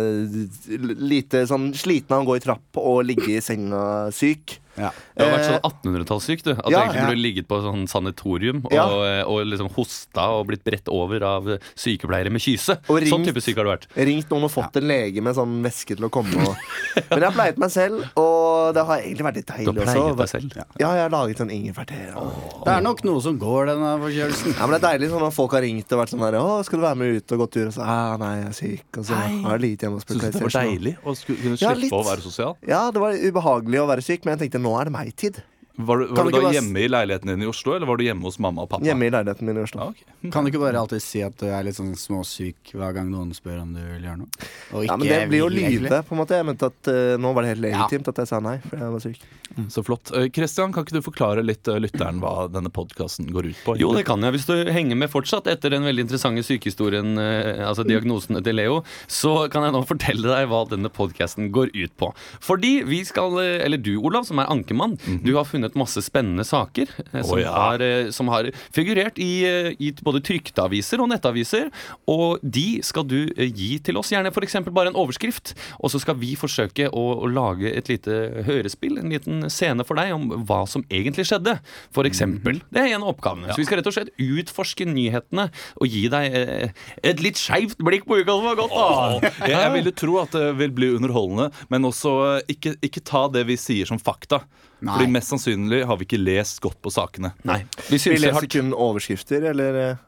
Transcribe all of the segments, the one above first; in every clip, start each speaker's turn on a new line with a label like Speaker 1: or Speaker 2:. Speaker 1: forkjøla. eh, Lite sånn sliten av å gå i trapp og ligge i senga syk.
Speaker 2: Ja.
Speaker 3: Du har vært sånn 1800-tallssyk, du. At du
Speaker 1: Eh, ja,
Speaker 3: egentlig
Speaker 2: ja.
Speaker 3: burde ligget på sånn sanatorium og,
Speaker 1: Ja.
Speaker 3: og liksom hosta og blitt bredt over av sykepleiere med kyse.
Speaker 1: Og ringt.
Speaker 3: Sånn type syk har du vært.
Speaker 1: Eh, Ringt noen og fått en lege med sånn væske til å komme og Men jeg har pleiet meg selv, og det har egentlig vært litt
Speaker 3: Du har
Speaker 1: deilig
Speaker 3: pleiet deg
Speaker 1: også.
Speaker 3: selv.
Speaker 1: Ja, jeg har laget sånn ingefærte. og-
Speaker 2: Det er nok noe som går, denne forkjølelsen.
Speaker 1: Ja, men Det er deilig sånn når folk har ringt og vært sånn der, Å, 'Skal du være med ut og gå tur?' Og så «Ah, 'Nei, jeg er syk.' Og så har jeg lite hjemme å
Speaker 4: Syns
Speaker 1: spille
Speaker 4: du det var
Speaker 1: PlayStation.
Speaker 4: deilig å skulle kunne
Speaker 1: Ja,
Speaker 4: slippe
Speaker 1: litt.
Speaker 4: å være sosial?
Speaker 1: Ja, det var ubehagelig å være syk, men jeg tenkte nå er det meg-tid.
Speaker 4: Var du,
Speaker 1: Kan
Speaker 4: var
Speaker 1: du
Speaker 4: du da
Speaker 1: ikke bare s-
Speaker 4: hjemme i leiligheten din i Oslo, eller var du hjemme hos mamma og pappa?
Speaker 1: Hjemme i leiligheten min i Oslo.
Speaker 4: Ja, ok.
Speaker 2: Kan du ikke bare alltid si at du er litt sånn småsyk hver gang noen spør om du vil gjøre noe? Og
Speaker 1: Ja, men det blir jo
Speaker 2: vil, egentlig.
Speaker 1: lyve, på en måte. Jeg mente at eh, nå var det helt legitimt at jeg sa nei, for jeg var syk.
Speaker 4: Så flott. Eh, Christian, kan ikke du forklare litt eh, lytteren hva denne podkasten går ut på?
Speaker 3: Jo, det kan jeg. Hvis du henger med fortsatt etter den veldig interessante sykehistorien, eh, altså diagnosen til Leo, så kan jeg nå fortelle deg hva denne podkasten går ut på. Fordi vi skal, eh, eller du Olav, som er ankermann, du har funnet masse spennende saker eh, som,
Speaker 4: Mhm. Å, ja.
Speaker 3: har, eh, som har figurert i, eh, i både trykte aviser og nettaviser. Og de skal du eh, gi til oss, gjerne f.eks. bare en overskrift. Og så skal vi forsøke å, å lage et lite hørespill, en liten scene for deg om hva som egentlig skjedde. For
Speaker 1: Mhm.
Speaker 3: eksempel. Det er en av oppgavene. Så vi skal rett og slett utforske nyhetene og gi deg eh, et litt skeivt blikk på uka som var gått. da.
Speaker 4: jeg, jeg ville tro at det vil bli underholdende, men også eh, ikke, ikke ta det vi sier som fakta.
Speaker 2: Nei.
Speaker 4: Fordi mest sannsynlig har vi ikke lest godt på sakene.
Speaker 3: Nei, vi
Speaker 1: Vi
Speaker 3: synes det er
Speaker 1: leser
Speaker 3: hardt.
Speaker 1: kun overskrifter, eller eh,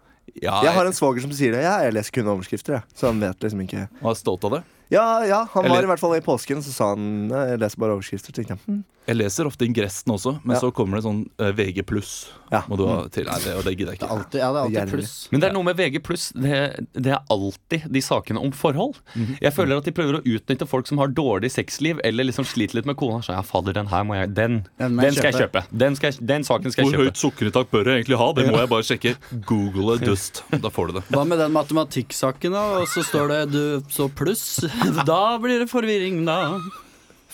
Speaker 4: Ja,
Speaker 1: Jeg har en svoger som sier det. Ja, jeg leser kun overskrifter, jeg. Så han vet liksom ikke
Speaker 4: jeg var stolt av det.
Speaker 1: Ja, ja, han var
Speaker 4: Eller-
Speaker 1: i hvert fall i påsken, så sa han nei, jeg leser bare overskrifter. tenkte jeg. «Hm,
Speaker 4: Jeg leser ofte ingressen også, men
Speaker 1: Ja.
Speaker 4: så kommer det sånn eh, VG pluss.
Speaker 1: Ja.
Speaker 4: Må du ha til. Nei, det, og det gidder jeg ikke.
Speaker 2: Alltid, ja, det er
Speaker 1: Gjerne.
Speaker 2: alltid pluss.
Speaker 3: Men det er noe med VG+, det, det er alltid de sakene om forhold. Jeg føler at de prøver å utnytte folk som har dårlig sexliv, eller liksom sliter litt med kona. Så ja, fader, den her må jeg, den,
Speaker 2: Den
Speaker 3: den,
Speaker 2: må jeg
Speaker 3: skal jeg kjøpe. Den, skal jeg, den saken skal jeg
Speaker 4: Hvor
Speaker 3: kjøpe.
Speaker 4: høyt sukkerinntak bør jeg egentlig ha? Det må jeg bare sjekke. Google dust. Da får du det.
Speaker 2: Hva med den matematikksaken, da? Og så står det du, så pluss. Da blir det forvirring, da.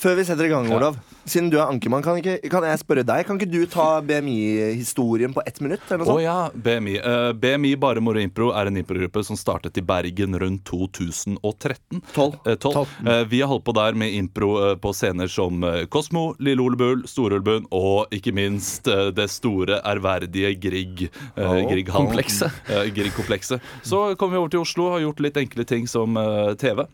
Speaker 1: Før vi setter i gang, Olav, siden du er ankermann, kan, ikke, kan jeg spørre deg? Kan ikke du ta BMI-historien på ett minutt?
Speaker 4: Å
Speaker 1: Eller noe sånt?
Speaker 4: ja, BMI. Eh, BMI Bare Moro Impro er en improgruppe som startet i Bergen rundt 2013.
Speaker 1: Tolv.
Speaker 4: Eh, tolv. Eh, vi har holdt på der med impro eh, på scener som eh, Kosmo, Lille Ole Bull, Storulven og ikke minst eh, det store, ærverdige Grieg. Uh,
Speaker 3: komplekset.
Speaker 4: Grieg-komplekset. Så kom vi over til Oslo og har gjort litt enkle ting som eh, TV. eh,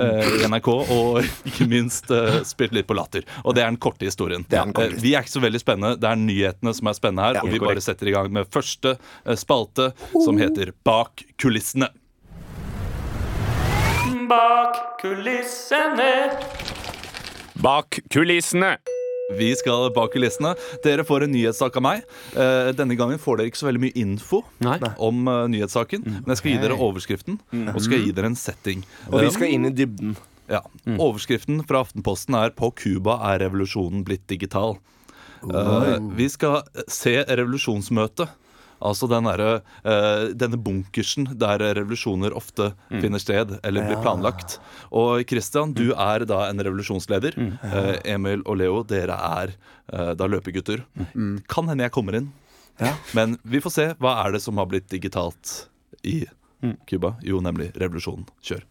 Speaker 4: i
Speaker 1: Mm.
Speaker 4: NRK, og ikke minst eh, spilt litt på latter. Og det er den korte historien.
Speaker 1: Det er den korte
Speaker 4: Eh, vi er ikke så veldig spennende. Det er nyhetene som er spennende her.
Speaker 1: Ja,
Speaker 4: og vi
Speaker 1: korrekt. Oh.
Speaker 4: bare setter i gang med første eh, spalte, som heter Bak kulissene.
Speaker 5: Bak kulissene.
Speaker 6: Bak kulissene.
Speaker 4: Vi skal bak kulissene. Dere får en nyhetssak av meg. Eh, denne gangen får dere ikke så veldig mye info
Speaker 3: Nei.
Speaker 4: om eh, nyhetssaken. Men jeg skal gi dere overskriften, og så skal jeg gi dere en setting.
Speaker 1: Mm. Og vi
Speaker 4: Eh,
Speaker 1: skal inn i dybden.
Speaker 4: Ja. Overskriften fra Aftenposten er 'På Cuba er revolusjonen blitt digital'. Eh, vi skal se revolusjonsmøtet. Altså den derre, eh, denne bunkersen der revolusjoner ofte finner sted eller blir planlagt. Og Christian, du er da en revolusjonsleder. Eh, Emil og Leo, dere er eh, da løpegutter. Kan hende jeg kommer inn. Men vi får se. Hva er det som har blitt digitalt i Cuba? Jo, nemlig revolusjonen. Kjør.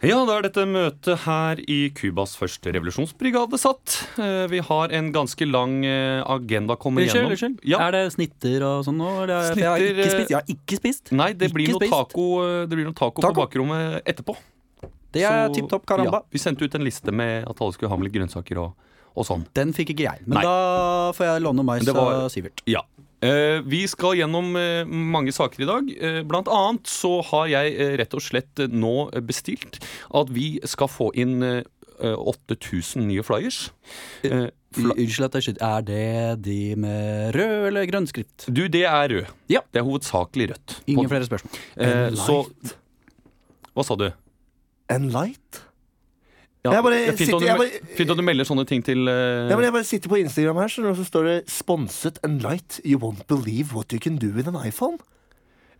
Speaker 3: Ja, da er dette møtet her i Cubas første revolusjonsbrigade satt. Eh, Vi har en ganske lang eh, agenda å komme
Speaker 7: Unnskyld,
Speaker 3: gjennom.
Speaker 7: unnskyld.
Speaker 3: Ja.
Speaker 7: Er det snitter og sånn nå? eller er- for jeg har
Speaker 3: Snitter,
Speaker 7: ikke spist. Jeg har ikke spist.
Speaker 3: Nei, det blir,
Speaker 7: Ikke
Speaker 3: noe
Speaker 7: spist.
Speaker 3: taco, eh, det blir noe taco, på
Speaker 7: Taco.
Speaker 3: bakrommet etterpå.
Speaker 7: Det er
Speaker 3: Så-
Speaker 7: tipp topp karamba.
Speaker 3: Ja, vi sendte ut en liste med at alle skulle ha med litt grønnsaker og, og sånn.
Speaker 7: Den fikk ikke jeg. Men
Speaker 3: Nei.
Speaker 7: da får jeg låne mais
Speaker 3: det var-
Speaker 7: av Sivert.
Speaker 3: Ja. Eh, vi skal gjennom eh, mange saker i dag. Eh, blant annet så har jeg eh, rett og slett eh, nå eh, bestilt at vi skal få inn eh, eh, 8000 nye flyers. Eh, fla
Speaker 7: Unnskyld at jeg skyter. Er det de med rød eller grønn skrift?
Speaker 3: du, det er rød.
Speaker 7: Ja.
Speaker 3: Det er hovedsakelig rødt.
Speaker 7: Ingen
Speaker 3: På-
Speaker 7: flere spørsmål.
Speaker 3: eh, så Hva sa du?
Speaker 1: En light?
Speaker 3: Ja,
Speaker 1: Jeg bare
Speaker 3: det er fint,
Speaker 1: sitter-
Speaker 3: om du,
Speaker 1: jeg
Speaker 3: me-
Speaker 1: bare-
Speaker 3: fint om du melder sånne ting til eh,
Speaker 1: Ja, men jeg bare sitter på Instagram her, skjønner du, og så står det 'Sponset en light'. You won't believe what you can do with an iPhone.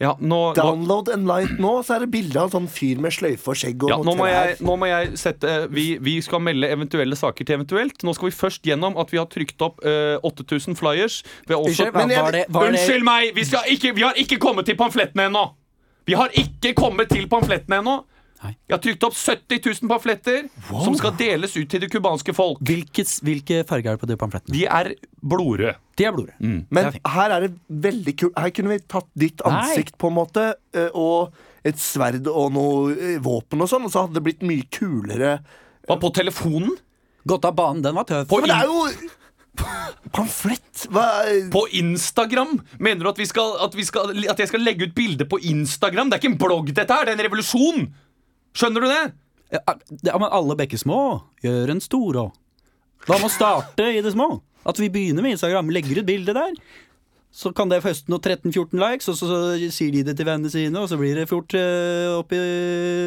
Speaker 3: ja, nå, nå,
Speaker 1: Download en light nå, så er det bilde av en sånn fyr med sløyfe og skjegg og
Speaker 3: Ja, nå
Speaker 1: noe
Speaker 3: må
Speaker 1: trær.
Speaker 3: jeg, nå må jeg sette eh, vi, vi skal melde eventuelle saker til eventuelt. Nå skal vi først gjennom at vi har trykt opp eh, 8000 flyers. Vi har
Speaker 7: Unnskyld,
Speaker 3: også,
Speaker 7: hva
Speaker 1: men jeg-
Speaker 7: var det, var
Speaker 3: Unnskyld meg! Vi, skal ikke, vi har ikke kommet til pamflettene ennå! Vi har ikke kommet til pamflettene ennå!
Speaker 7: Nei.
Speaker 3: Jeg har trykt opp 70 000 pamfletter som skal deles ut til det cubanske folk.
Speaker 7: Det, hvilke, hvilke farger er det på de pamflettene?
Speaker 3: De er blodrøde.
Speaker 7: De er blodrøde.
Speaker 1: Men her er det veldig kult. Her kunne vi tatt ditt ansikt, på en måte, eh, og et sverd og noe eh, våpen og sånn, og så hadde det blitt mye kulere.
Speaker 3: Hva, på telefonen?
Speaker 7: Gått av banen, den var tøff.
Speaker 1: Men det er jo Pamflett! Hva
Speaker 3: På Instagram? Mener du at, vi skal, at, vi skal, at jeg skal legge ut bilde på Instagram? Det er ikke en blogg, dette her! Det er en revolusjon! Skjønner du det?
Speaker 7: Ja, ah, det- ja, men alle bekker små gjør en stor òg. Da må starte i det små. At vi begynner med Instagram, legger ut bilde der. Så kan det få høsten og 13-14 likes, og så, så sier de det til vennene sine, og så blir det fort eh, opp i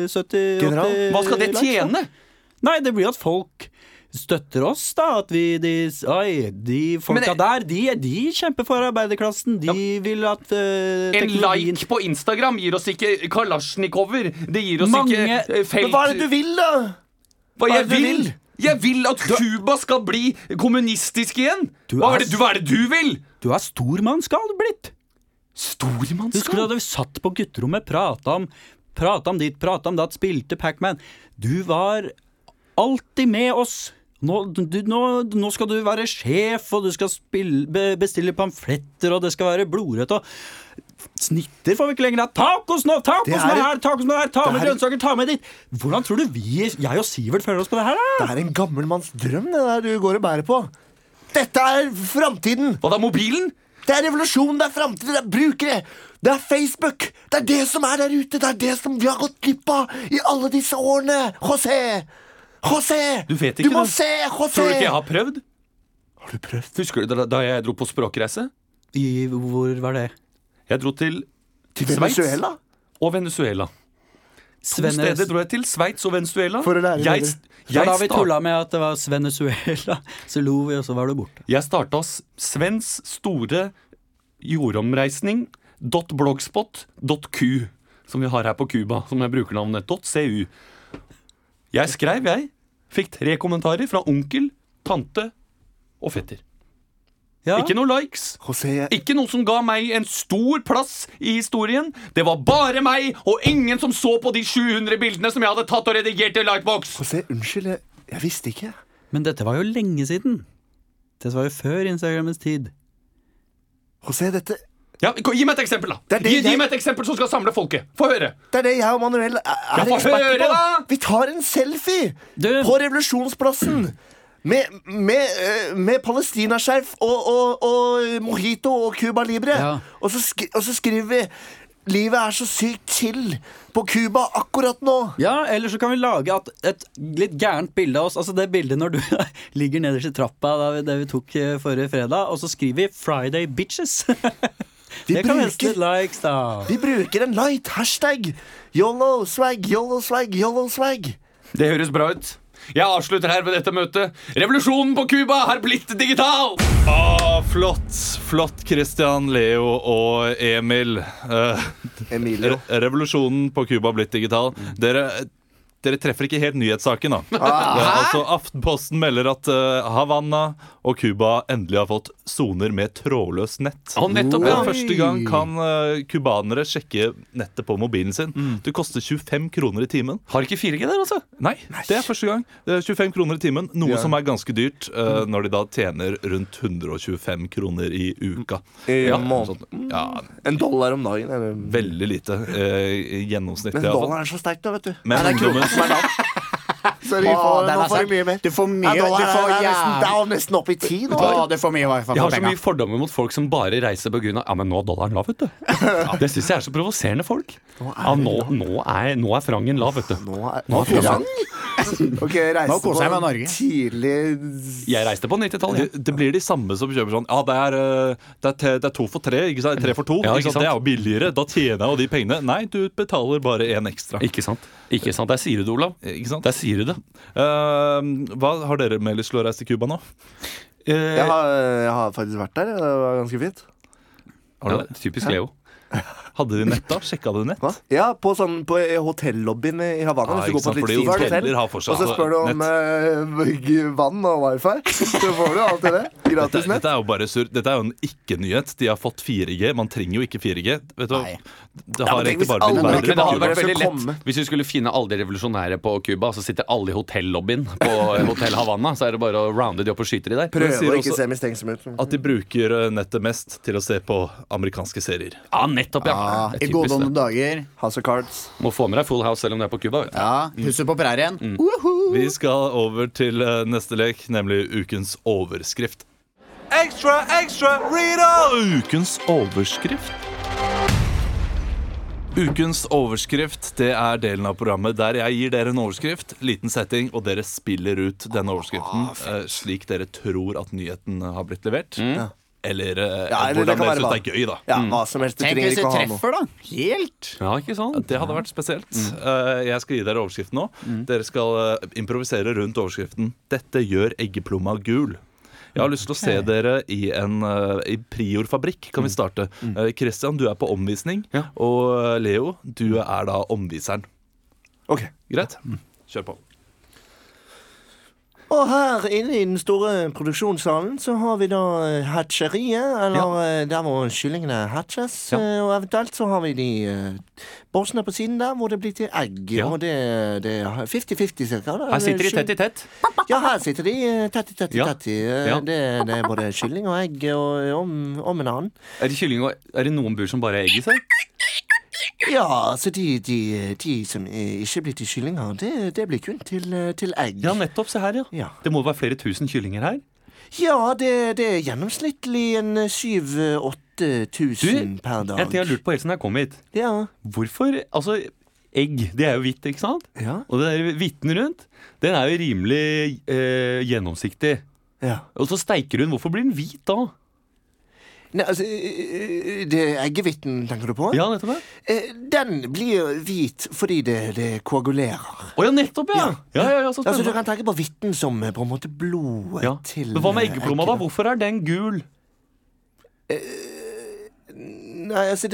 Speaker 7: 70
Speaker 1: General,
Speaker 7: 80
Speaker 3: Hva skal det
Speaker 7: Eh, likes, da.
Speaker 3: tjene?
Speaker 7: Nei, det blir at folk støtter oss, da. At vi De, oi, de folka
Speaker 3: Men-
Speaker 7: der, de, de kjemper for arbeiderklassen. De vil at eh,
Speaker 3: En
Speaker 7: teknologien-
Speaker 3: like på Instagram gir oss ikke kalasjnikover. Det gir oss
Speaker 7: Mange-
Speaker 3: ikke eh, felt.
Speaker 1: Men hva er det du vil, da?
Speaker 3: Hva
Speaker 1: hva er
Speaker 3: jeg
Speaker 1: det du
Speaker 3: vil?
Speaker 1: vil?
Speaker 3: Jeg vil at Cuba skal bli kommunistisk igjen! Hva
Speaker 7: er
Speaker 3: er det du, hva er det du vil?
Speaker 7: Du er stor mann, skal du blitt. Husker du
Speaker 3: Stormannsskap?
Speaker 7: da vi satt på gutterommet, prata om Prata om ditt, prata om datt, spilte Pac-Man Du var alltid med oss. Nå, du, nå, nå skal du være sjef, og du skal spille, be- bestille pamfletter, og det skal være blodrødt og Snitter får vi ikke lenger. Det er Tacos nå! Tacos
Speaker 1: Det
Speaker 7: nå
Speaker 1: er-
Speaker 7: her! Tacos nå her! Ta med
Speaker 1: er-
Speaker 7: grønnsaker, ta med ditt! Hvordan tror du vi, jeg og Sivert, føler oss på det her, da?
Speaker 1: Det er en gammel manns drøm, det der du går og bærer på. Dette er framtiden!
Speaker 3: Hva da, mobilen?
Speaker 1: Det er revolusjon, det er framtid, det er brukere! Det er Facebook! Det er det som er der ute! Det er det som vi har gått glipp av i alle disse årene! José! José!
Speaker 3: Du vet ikke
Speaker 1: må
Speaker 3: det.
Speaker 1: se! José!
Speaker 3: Tror du ikke jeg har prøvd?
Speaker 1: Har du prøvd?
Speaker 3: Husker du da, da jeg dro på språkreise?
Speaker 7: I, hvor var det?
Speaker 3: Jeg dro til
Speaker 1: Til
Speaker 3: Sveits?
Speaker 1: Venezuela?
Speaker 3: og Venezuela. To
Speaker 7: Svenes-
Speaker 3: steder dro jeg til. Sveits og Venezuela.
Speaker 1: For å lære
Speaker 3: jeg,
Speaker 1: dere.
Speaker 7: Ja, da
Speaker 3: jeg,
Speaker 7: vi
Speaker 3: start,
Speaker 7: tulla med at det var Venezuela, så lo vi, og så var du borte.
Speaker 3: jeg starta s- Svens store jordomreisning. .blogspot.q, som vi har her på Cuba, som er brukernavnet .cu. Jeg skrev, jeg, Fikk tre kommentarer fra onkel, tante og fetter.
Speaker 7: Ja.
Speaker 3: Ikke noe likes.
Speaker 1: José
Speaker 3: Ikke noe som ga meg en stor plass i historien. Det var bare meg og ingen som så på de 700 bildene som jeg hadde tatt og redigert i Lightbox.
Speaker 1: José, unnskyld, jeg- jeg visste ikke.
Speaker 7: Men dette var jo lenge siden. Dette var jo før Instagrammens tid.
Speaker 1: José, dette
Speaker 3: Ja, Gi meg et eksempel, da.
Speaker 1: Det er det
Speaker 3: Gi, gi
Speaker 1: jeg-
Speaker 3: meg et eksempel som skal samle folket. Få høre.
Speaker 1: Det er det jeg og Manuel er er
Speaker 3: få høre,
Speaker 1: eksperter på.
Speaker 3: da!
Speaker 1: Vi tar en selfie
Speaker 7: Du-
Speaker 1: på Revolusjonsplassen. Med, med, eh, med palestinaskjerf og, og, og mojito og Cuba Libre.
Speaker 7: Ja.
Speaker 1: Og, så skri, og så skriver vi Livet er så sykt chill på Cuba akkurat nå.
Speaker 7: Ja, eller så kan vi lage at et litt gærent bilde av oss. Altså det bildet når du ligger nederst i trappa, da vi, det vi tok eh, forrige fredag, og så skriver vi 'Friday bitches'. det kan heste
Speaker 1: bruker-
Speaker 7: likes, da.
Speaker 1: Vi bruker en light hashtag. Yolo swag, yolo swag, yolo swag.
Speaker 3: Det høres bra ut. Jeg avslutter her ved dette møtet. Revolusjonen på Cuba har blitt digital!
Speaker 4: Ah, flott. Flott, Christian, Leo og Emil. Eh,
Speaker 1: Emilio.
Speaker 4: re revolusjonen på Cuba har blitt digital. Dere, dere treffer ikke helt nyhetssaken, da.
Speaker 3: Ah.
Speaker 4: Det er altså, Aftenposten melder at eh, Havanna og Cuba endelig har fått soner med trådløst nett.
Speaker 3: Og nettopp,
Speaker 4: For
Speaker 3: ja.
Speaker 4: første gang kan eh, cubanere sjekke nettet på mobilen sin. Det koster 25 kroner i timen.
Speaker 3: Mm. Har ikke 4G der, altså?
Speaker 4: Nei, det er første gang. Det er 25 kroner i timen, noe som er ganske dyrt
Speaker 3: Mm.
Speaker 4: eh, når de da tjener rundt 125 kroner i uka.
Speaker 1: I
Speaker 4: Ja,
Speaker 1: måneden.
Speaker 4: sånn- ja,
Speaker 1: Eh, En dollar om dagen. Eller? Men
Speaker 4: veldig lite eh, i gjennomsnitt. i alle fall.
Speaker 1: dollar er så sterkt nå, vet du.
Speaker 4: Men
Speaker 1: Nei, det er
Speaker 4: ungdommen-
Speaker 1: kronen som er lav. Så vi får, nå får vi mye mer.
Speaker 2: Du får mye
Speaker 1: Ja, dollar
Speaker 2: du får,
Speaker 1: er, er, nesten, det
Speaker 2: jævlig-
Speaker 1: er nesten opp i ti nå.
Speaker 2: Å, du får mye wifi
Speaker 3: Jeg
Speaker 2: for
Speaker 3: har så
Speaker 2: penga.
Speaker 3: mye fordommer mot folk som bare reiser på grunn av Ja, men nå er dollaren lav, vet du. Det syns jeg er så provoserende folk. Ja, nå, nå, er, nå er frangen lav, vet du.
Speaker 1: Nå er, nå er Frank Ok, jeg reiste
Speaker 2: Nå koser jeg
Speaker 1: på
Speaker 2: meg i Norge.
Speaker 1: tidlig
Speaker 3: Jeg reiste på 90-tallet.
Speaker 4: Det,
Speaker 3: jeg.
Speaker 4: det blir de samme som kjøper sånn Ja, det er, eh, det er, te- det er to for tre, ikke sant? Tre for to.
Speaker 3: Ja, ikke
Speaker 4: ikke sant?
Speaker 3: sant?
Speaker 4: Det er jo billigere. Da tjener jeg jo de pengene. Nei, du betaler bare én ekstra.
Speaker 3: Ikke sant? Ikke sant? Der sier du det, Olav.
Speaker 4: Ikke sant?
Speaker 3: Der sier du det.
Speaker 4: Eh, hva har dere med lyst til å reise til Cuba nå?
Speaker 1: jeg har, jeg har faktisk vært der, det var ganske fint
Speaker 3: Ja, det er typisk Leo.
Speaker 4: Eh, Hadde de nett da? Sjekka de nett?
Speaker 1: Hva? Ja, på, sånn, på eh, hotellobbyen i Havana
Speaker 4: Ah, ikke
Speaker 1: Hvis du går på
Speaker 4: sant,
Speaker 1: et litt
Speaker 4: fordi
Speaker 1: fint hotell
Speaker 4: hoteller har
Speaker 1: Og
Speaker 4: fortsatt
Speaker 1: så spør du om eh, vann og wifi Så får du alt det der
Speaker 4: Dette,
Speaker 1: Gratis nett
Speaker 4: dette er jo bare sur. Dette er jo en ikke-nyhet. De har fått 4G. Man trenger jo ikke 4G. Vet du,
Speaker 2: Nei.
Speaker 4: det har
Speaker 1: men tenk
Speaker 4: egentlig
Speaker 1: hvis
Speaker 4: bare blitt
Speaker 1: alle
Speaker 3: Men
Speaker 1: Nei,
Speaker 4: verre.
Speaker 1: ikke
Speaker 3: det hadde
Speaker 1: bare
Speaker 3: vært
Speaker 1: jeg
Speaker 3: veldig
Speaker 1: skal komme.
Speaker 3: lett hvis vi skulle finne alle de revolusjonære på Cuba, så sitter alle i hotellobbyen på Hotell Havanna, så er det bare å rounde de opp og skyte de der.
Speaker 4: Men sier
Speaker 1: Prøv å
Speaker 4: også-
Speaker 1: ikke se mistenksom ut
Speaker 4: At de bruker eh, nettet mest til å se på amerikanske serier.
Speaker 3: Ja, nettopp, ja.
Speaker 2: Ja,
Speaker 3: Det
Speaker 2: I
Speaker 3: er
Speaker 2: gode
Speaker 3: typisk
Speaker 2: om
Speaker 3: det.
Speaker 2: dager.
Speaker 1: House of Cards
Speaker 3: Må få med deg Full House selv om du er på Cuba. vet du.
Speaker 2: Ja, Huset på prærien.
Speaker 4: Vi skal over til eh, neste lek, nemlig ukens overskrift. Ekstra, ekstra, Rita! Ukens overskrift. Ukens overskrift det er delen av programmet der jeg gir dere en overskrift, liten setting, og dere spiller ut denne overskriften
Speaker 1: Ah,
Speaker 4: eh, slik dere tror at nyheten har blitt levert. Eller, eh,
Speaker 1: Mm. Ja,
Speaker 4: hvordan dere
Speaker 1: eller det kan
Speaker 4: syns
Speaker 1: være
Speaker 4: det
Speaker 1: hva.
Speaker 4: er gøy, da.
Speaker 1: Ja, hva som helst Du
Speaker 2: Tenk
Speaker 1: trenger
Speaker 2: hvis du
Speaker 1: ikke å ha noe
Speaker 2: treffer, da. Helt.
Speaker 3: Ja, ikke sant?
Speaker 4: Det hadde vært spesielt.
Speaker 3: Mm.
Speaker 4: Eh, jeg skal gi dere overskriften nå. Dere skal eh, improvisere rundt overskriften 'Dette gjør eggeplomma gul'. Jeg har lyst til å se dere i en eh, i Prior-fabrikk. Kan vi starte? Eh, Christian, du er på omvisning.
Speaker 3: Mm. Ja.
Speaker 4: Og eh, Leo, du er da omviseren.
Speaker 1: Ok
Speaker 4: Greit?
Speaker 3: Mm.
Speaker 4: Kjør på.
Speaker 1: Og her inne i den store produksjonssalen så har vi da eh, hatcheriet, eller eh, der hvor kyllingene hatches. eh, Og eventuelt så har vi de eh, borsene på siden der hvor det blir til egg.
Speaker 3: Ja.
Speaker 1: Og det, det er 50-50 cirka. da.
Speaker 3: Her sitter de tett i tett.
Speaker 1: Ja, her sitter de eh, tett i tett i
Speaker 3: Ja.
Speaker 1: tett i. eh,
Speaker 3: Ja.
Speaker 1: Det, det er både kylling og egg og eh, om, om en annen.
Speaker 3: Er det kylling og Er det noen bur som bare har egg i seg?
Speaker 1: Ja, så de, de, de som eh, ikke blir til kyllinger, det, det blir kun til, eh, til egg.
Speaker 3: Ja, nettopp. Se her, ja.
Speaker 1: Ja.
Speaker 3: Det må være flere tusen kyllinger her.
Speaker 1: Ja, det, det er gjennomsnittlig en eh, 7000-8000
Speaker 3: Du,
Speaker 1: per dag.
Speaker 3: Jeg, jeg har lurt på helt siden jeg kom hit.
Speaker 1: Ja.
Speaker 3: Hvorfor Altså, egg, det er jo hvitt, ikke sant?
Speaker 1: Ja.
Speaker 3: Og den der hvitten rundt, den er jo rimelig eh, gjennomsiktig.
Speaker 1: ja.
Speaker 3: Og så steiker hun. Hvorfor blir den hvit da?
Speaker 1: Nei, altså, eh, det er eggehviten, tenker du på?
Speaker 3: Ja, nettopp. ja.
Speaker 1: Eh, Den blir hvit fordi det, det koagulerer.
Speaker 3: Å ja, nettopp, ja! Ja, ja, ja, så
Speaker 1: Altså, du
Speaker 3: spennende.
Speaker 1: kan tenke på hvitten som eh, på en måte blodet
Speaker 3: Ja.
Speaker 1: til
Speaker 3: Men hva med
Speaker 1: eh,
Speaker 3: eggeplomma, da?
Speaker 1: eggene.
Speaker 3: Hvorfor er den gul?
Speaker 1: Nei, altså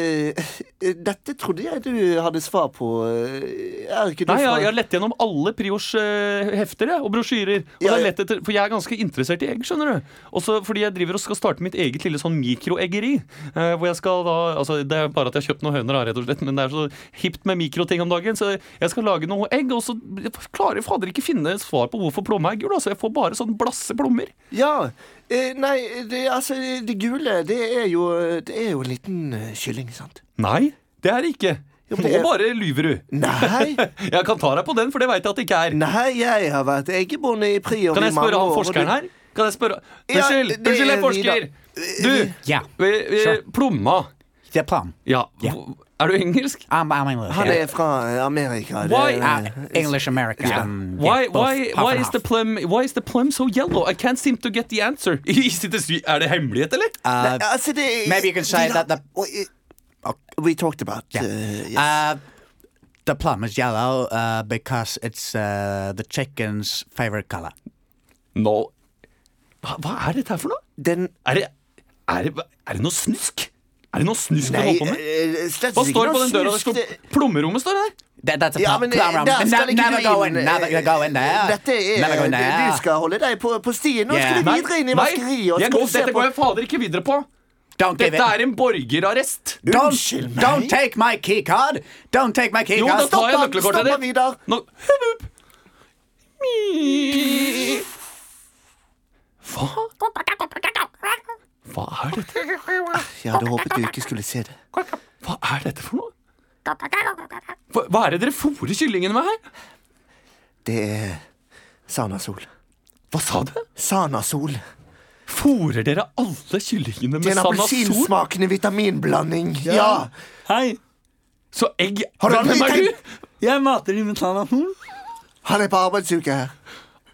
Speaker 1: dette Dette trodde jeg du hadde svar på. eh, Er ikke du
Speaker 3: Nei, jeg,
Speaker 1: fra-
Speaker 3: jeg har lett gjennom alle Priors eh, hefter jeg, og brosjyrer. Og
Speaker 1: Ja,
Speaker 3: jeg har
Speaker 1: ja.
Speaker 3: lett etter, for jeg er ganske interessert i egg, skjønner du. Også fordi jeg driver og skal starte mitt eget lille sånn mikroeggeri. eh, hvor jeg skal da, altså Det er bare at jeg har kjøpt noen høner, da, rett og slett, men det er så hipt med mikroting om dagen. Så jeg skal lage noe egg, og så klarer jeg fader ikke finne svar på hvorfor plomma er gul. Altså, jeg får bare sånn blasse plommer.
Speaker 1: Ja. eh, Nei, det, altså, det gule, det er jo Det er jo en liten eh, kylling, sant?
Speaker 3: Nei, det er det ikke.
Speaker 1: Jo, men
Speaker 3: Nå
Speaker 1: det er-
Speaker 3: bare lyver du.
Speaker 1: Nei.
Speaker 3: Jeg kan ta deg på den, for det veit jeg at det ikke er.
Speaker 1: Nei, jeg har vært eggebonde i Prior
Speaker 3: Kan jeg
Speaker 1: i mange
Speaker 3: spørre han
Speaker 1: år, og
Speaker 3: forskeren
Speaker 1: det-
Speaker 3: her? Kan jeg spørre
Speaker 1: Ja,
Speaker 3: Unnskyld,
Speaker 1: det-
Speaker 3: unnskyld, jeg
Speaker 1: vi
Speaker 3: forsker! Du,
Speaker 2: Ja.
Speaker 3: vi, vi, plomma.
Speaker 2: Det er plan.
Speaker 3: Ja.
Speaker 2: Ja.
Speaker 3: hvor- Er du engelsk?
Speaker 2: I'm, I'm English.
Speaker 1: Han er fra eh, Amerika. Det,
Speaker 3: Why-
Speaker 2: Uh, English American.
Speaker 1: Mm,
Speaker 2: Um,
Speaker 3: Why,
Speaker 2: both
Speaker 3: why,
Speaker 2: half
Speaker 3: why,
Speaker 2: and
Speaker 3: is the
Speaker 2: half.
Speaker 3: plum, why is the plum so yellow? I can't seem to get the answer. Is it a sy- er det hemmelighet, eller?
Speaker 2: Uh,
Speaker 1: altså, det
Speaker 2: Maybe you can say
Speaker 1: de-
Speaker 2: that the-
Speaker 1: Oi, eh, We talked about
Speaker 2: Yeah.
Speaker 1: eh, yes.
Speaker 2: Uh, the plum is yellow uh, because it's uh, the chicken's favorite color.
Speaker 3: No. Hva, hva er dette her for noe?
Speaker 1: Den
Speaker 3: Er det, er det, er det noe snusk? Er det noe snusk du
Speaker 1: Nei,
Speaker 3: holder på med?
Speaker 1: eh, slett
Speaker 3: Hva
Speaker 1: ikke
Speaker 3: står
Speaker 1: noe
Speaker 3: på den døra? Det
Speaker 1: snusk,
Speaker 3: står, plommerommet står der.
Speaker 2: That, that's a
Speaker 1: Ja,
Speaker 2: plum,
Speaker 1: men
Speaker 2: plum
Speaker 1: eh,
Speaker 2: rum.
Speaker 1: der skal
Speaker 2: Ne-
Speaker 1: ikke
Speaker 2: never
Speaker 1: du
Speaker 2: go in.
Speaker 1: inn.
Speaker 2: Never go in there.
Speaker 1: Dette
Speaker 2: never go
Speaker 1: er
Speaker 2: in there.
Speaker 1: Du skal holde deg på, på stien. Nå skal
Speaker 2: Yeah.
Speaker 1: du videre inn i vaskeriet. og
Speaker 3: jeg
Speaker 1: skal
Speaker 3: går,
Speaker 1: du se
Speaker 3: dette
Speaker 1: på-
Speaker 3: går jeg fader ikke videre på.
Speaker 2: Don't give
Speaker 3: Dette
Speaker 2: it.
Speaker 3: er en borgerarrest.
Speaker 2: Don't,
Speaker 1: Unnskyld meg.
Speaker 2: don't take my key card. Don't take my key
Speaker 3: Jo, da
Speaker 2: card.
Speaker 3: tar jeg
Speaker 1: Stopp han,
Speaker 3: nøkkelkortet
Speaker 1: stopp han,
Speaker 3: ditt.
Speaker 1: Vidar.
Speaker 3: Nå hup, hup. Mi. Hva? Hva er dette?
Speaker 1: Jeg hadde håpet du ikke skulle se det.
Speaker 3: Hva er dette for noe? Hva, hva er det dere fôrer kyllingene med her?
Speaker 1: Det er Sanasol.
Speaker 3: Hva sa du?
Speaker 1: Sanasol.
Speaker 3: Fôrer dere alle kyllingene
Speaker 1: Det
Speaker 3: med
Speaker 1: er en
Speaker 3: sanasol?
Speaker 1: appelsinsmakende vitaminblanding. Ja.
Speaker 7: Hei,
Speaker 3: Så egg
Speaker 1: Har du aldri
Speaker 3: Hvem er
Speaker 1: tenkt-
Speaker 3: du?
Speaker 7: jeg mater dem med tannatorn.
Speaker 1: Han er på arbeidsuke her.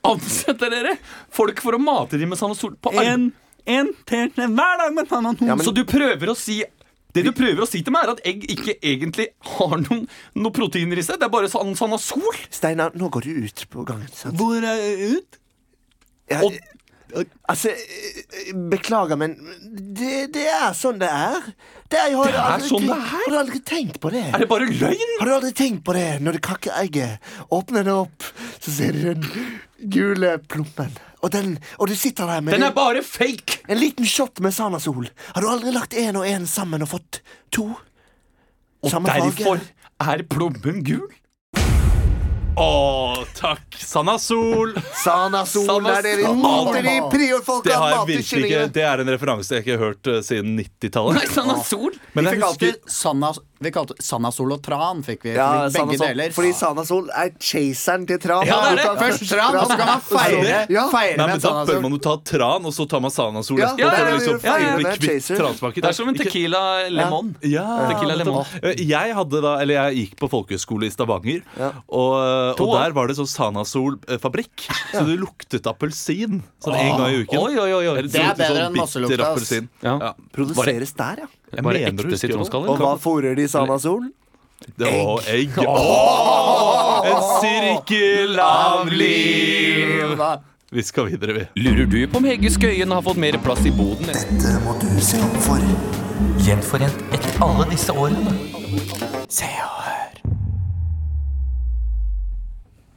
Speaker 3: Ansetter dere folk for å mate dem med sanasol på armen?
Speaker 7: En, en teskje hver dag med tannatorn.
Speaker 1: men-
Speaker 3: Så du prøver å si det du prøver å si til meg, er at egg ikke egentlig har noen, noen proteiner i seg. Det er bare sånn sanasol.
Speaker 1: Steinar, nå går du ut på gangen. Sant?
Speaker 7: Hvor er jeg ut?
Speaker 1: Ja,
Speaker 3: Og-
Speaker 1: altså, eh, beklager, men det, det er sånn det er. Det er, jo- har, du
Speaker 3: er
Speaker 1: aldri
Speaker 3: sånn det
Speaker 1: tenkt-
Speaker 3: er.
Speaker 1: Har du aldri tenkt på det?
Speaker 3: Er det bare løgn?
Speaker 1: Har du aldri tenkt på det? Når du kakker egget, åpner det opp, så ser du den gule plommen. Og, den, og du sitter der med
Speaker 3: Den
Speaker 1: din-
Speaker 3: er bare fake!
Speaker 1: en liten shot med Sanasol. Har du aldri lagt én og én sammen og fått to?
Speaker 3: Og
Speaker 1: Samme
Speaker 3: derfor
Speaker 1: farge.
Speaker 3: er plommen gul. Å, takk. Sanasol.
Speaker 1: Sanasol
Speaker 3: Sanasol.
Speaker 1: er det vi måter i priorfolk
Speaker 4: Det har
Speaker 1: av
Speaker 4: jeg
Speaker 1: mat til
Speaker 4: virkelig ikke
Speaker 1: kyllingene.
Speaker 4: Det er en referanse jeg ikke har hørt eh, siden
Speaker 3: Nei,
Speaker 4: 90-tallet.
Speaker 3: sanasol.
Speaker 4: Men
Speaker 2: Vi
Speaker 4: jeg
Speaker 2: fikk
Speaker 4: husker
Speaker 2: alltid Sanna, vi kalte Sanasol og Tran. fikk vi
Speaker 1: Ja,
Speaker 2: fordi Begge
Speaker 1: Sanasol,
Speaker 2: deler.
Speaker 1: Fordi Sanasol er chaseren til Tran.
Speaker 3: Ja, det er det.
Speaker 2: Først Tran, og så kan man feire,
Speaker 4: Er det? Nei,
Speaker 2: feire med
Speaker 4: men
Speaker 2: en
Speaker 4: Da bør
Speaker 2: Sanasol.
Speaker 4: man jo ta tran, og så tar man sanasol.
Speaker 1: Ja,
Speaker 4: etterpå,
Speaker 1: ja,
Speaker 4: for å
Speaker 1: ja,
Speaker 4: liksom
Speaker 1: ja, ja,
Speaker 4: bli
Speaker 1: ja,
Speaker 4: kvitt
Speaker 1: chaser.
Speaker 4: transmaken.
Speaker 3: Det er som en tequila lemon.
Speaker 4: ja,
Speaker 3: Tequila lemon.
Speaker 4: Eh, Jeg hadde da, eller jeg gikk på folkehøyskole i Stavanger, og, og der var det sånn Sanasol-fabrikk. Så det luktet appelsin sånn en gang i uken.
Speaker 3: Ah, Oi, oi, oi, oi.
Speaker 4: Eller
Speaker 2: Det er
Speaker 4: luktet sånn
Speaker 2: bedre enn
Speaker 4: bitter
Speaker 2: masselukt, ass.
Speaker 4: appelsin.
Speaker 3: Ja.
Speaker 4: Ja.
Speaker 1: Produseres der, ja.
Speaker 4: Jeg
Speaker 3: Bare
Speaker 4: mener, husker
Speaker 3: ekte
Speaker 4: jeg det.
Speaker 1: Og
Speaker 3: sitronskaller.
Speaker 1: hva fôrer de Sanasol?
Speaker 4: Det var egg. Åh, En sirkel av liv. Vi skal videre, vi.
Speaker 3: Lurer du på om Hege Skøyen har fått mer plass i boden?
Speaker 1: Det må du se opp for.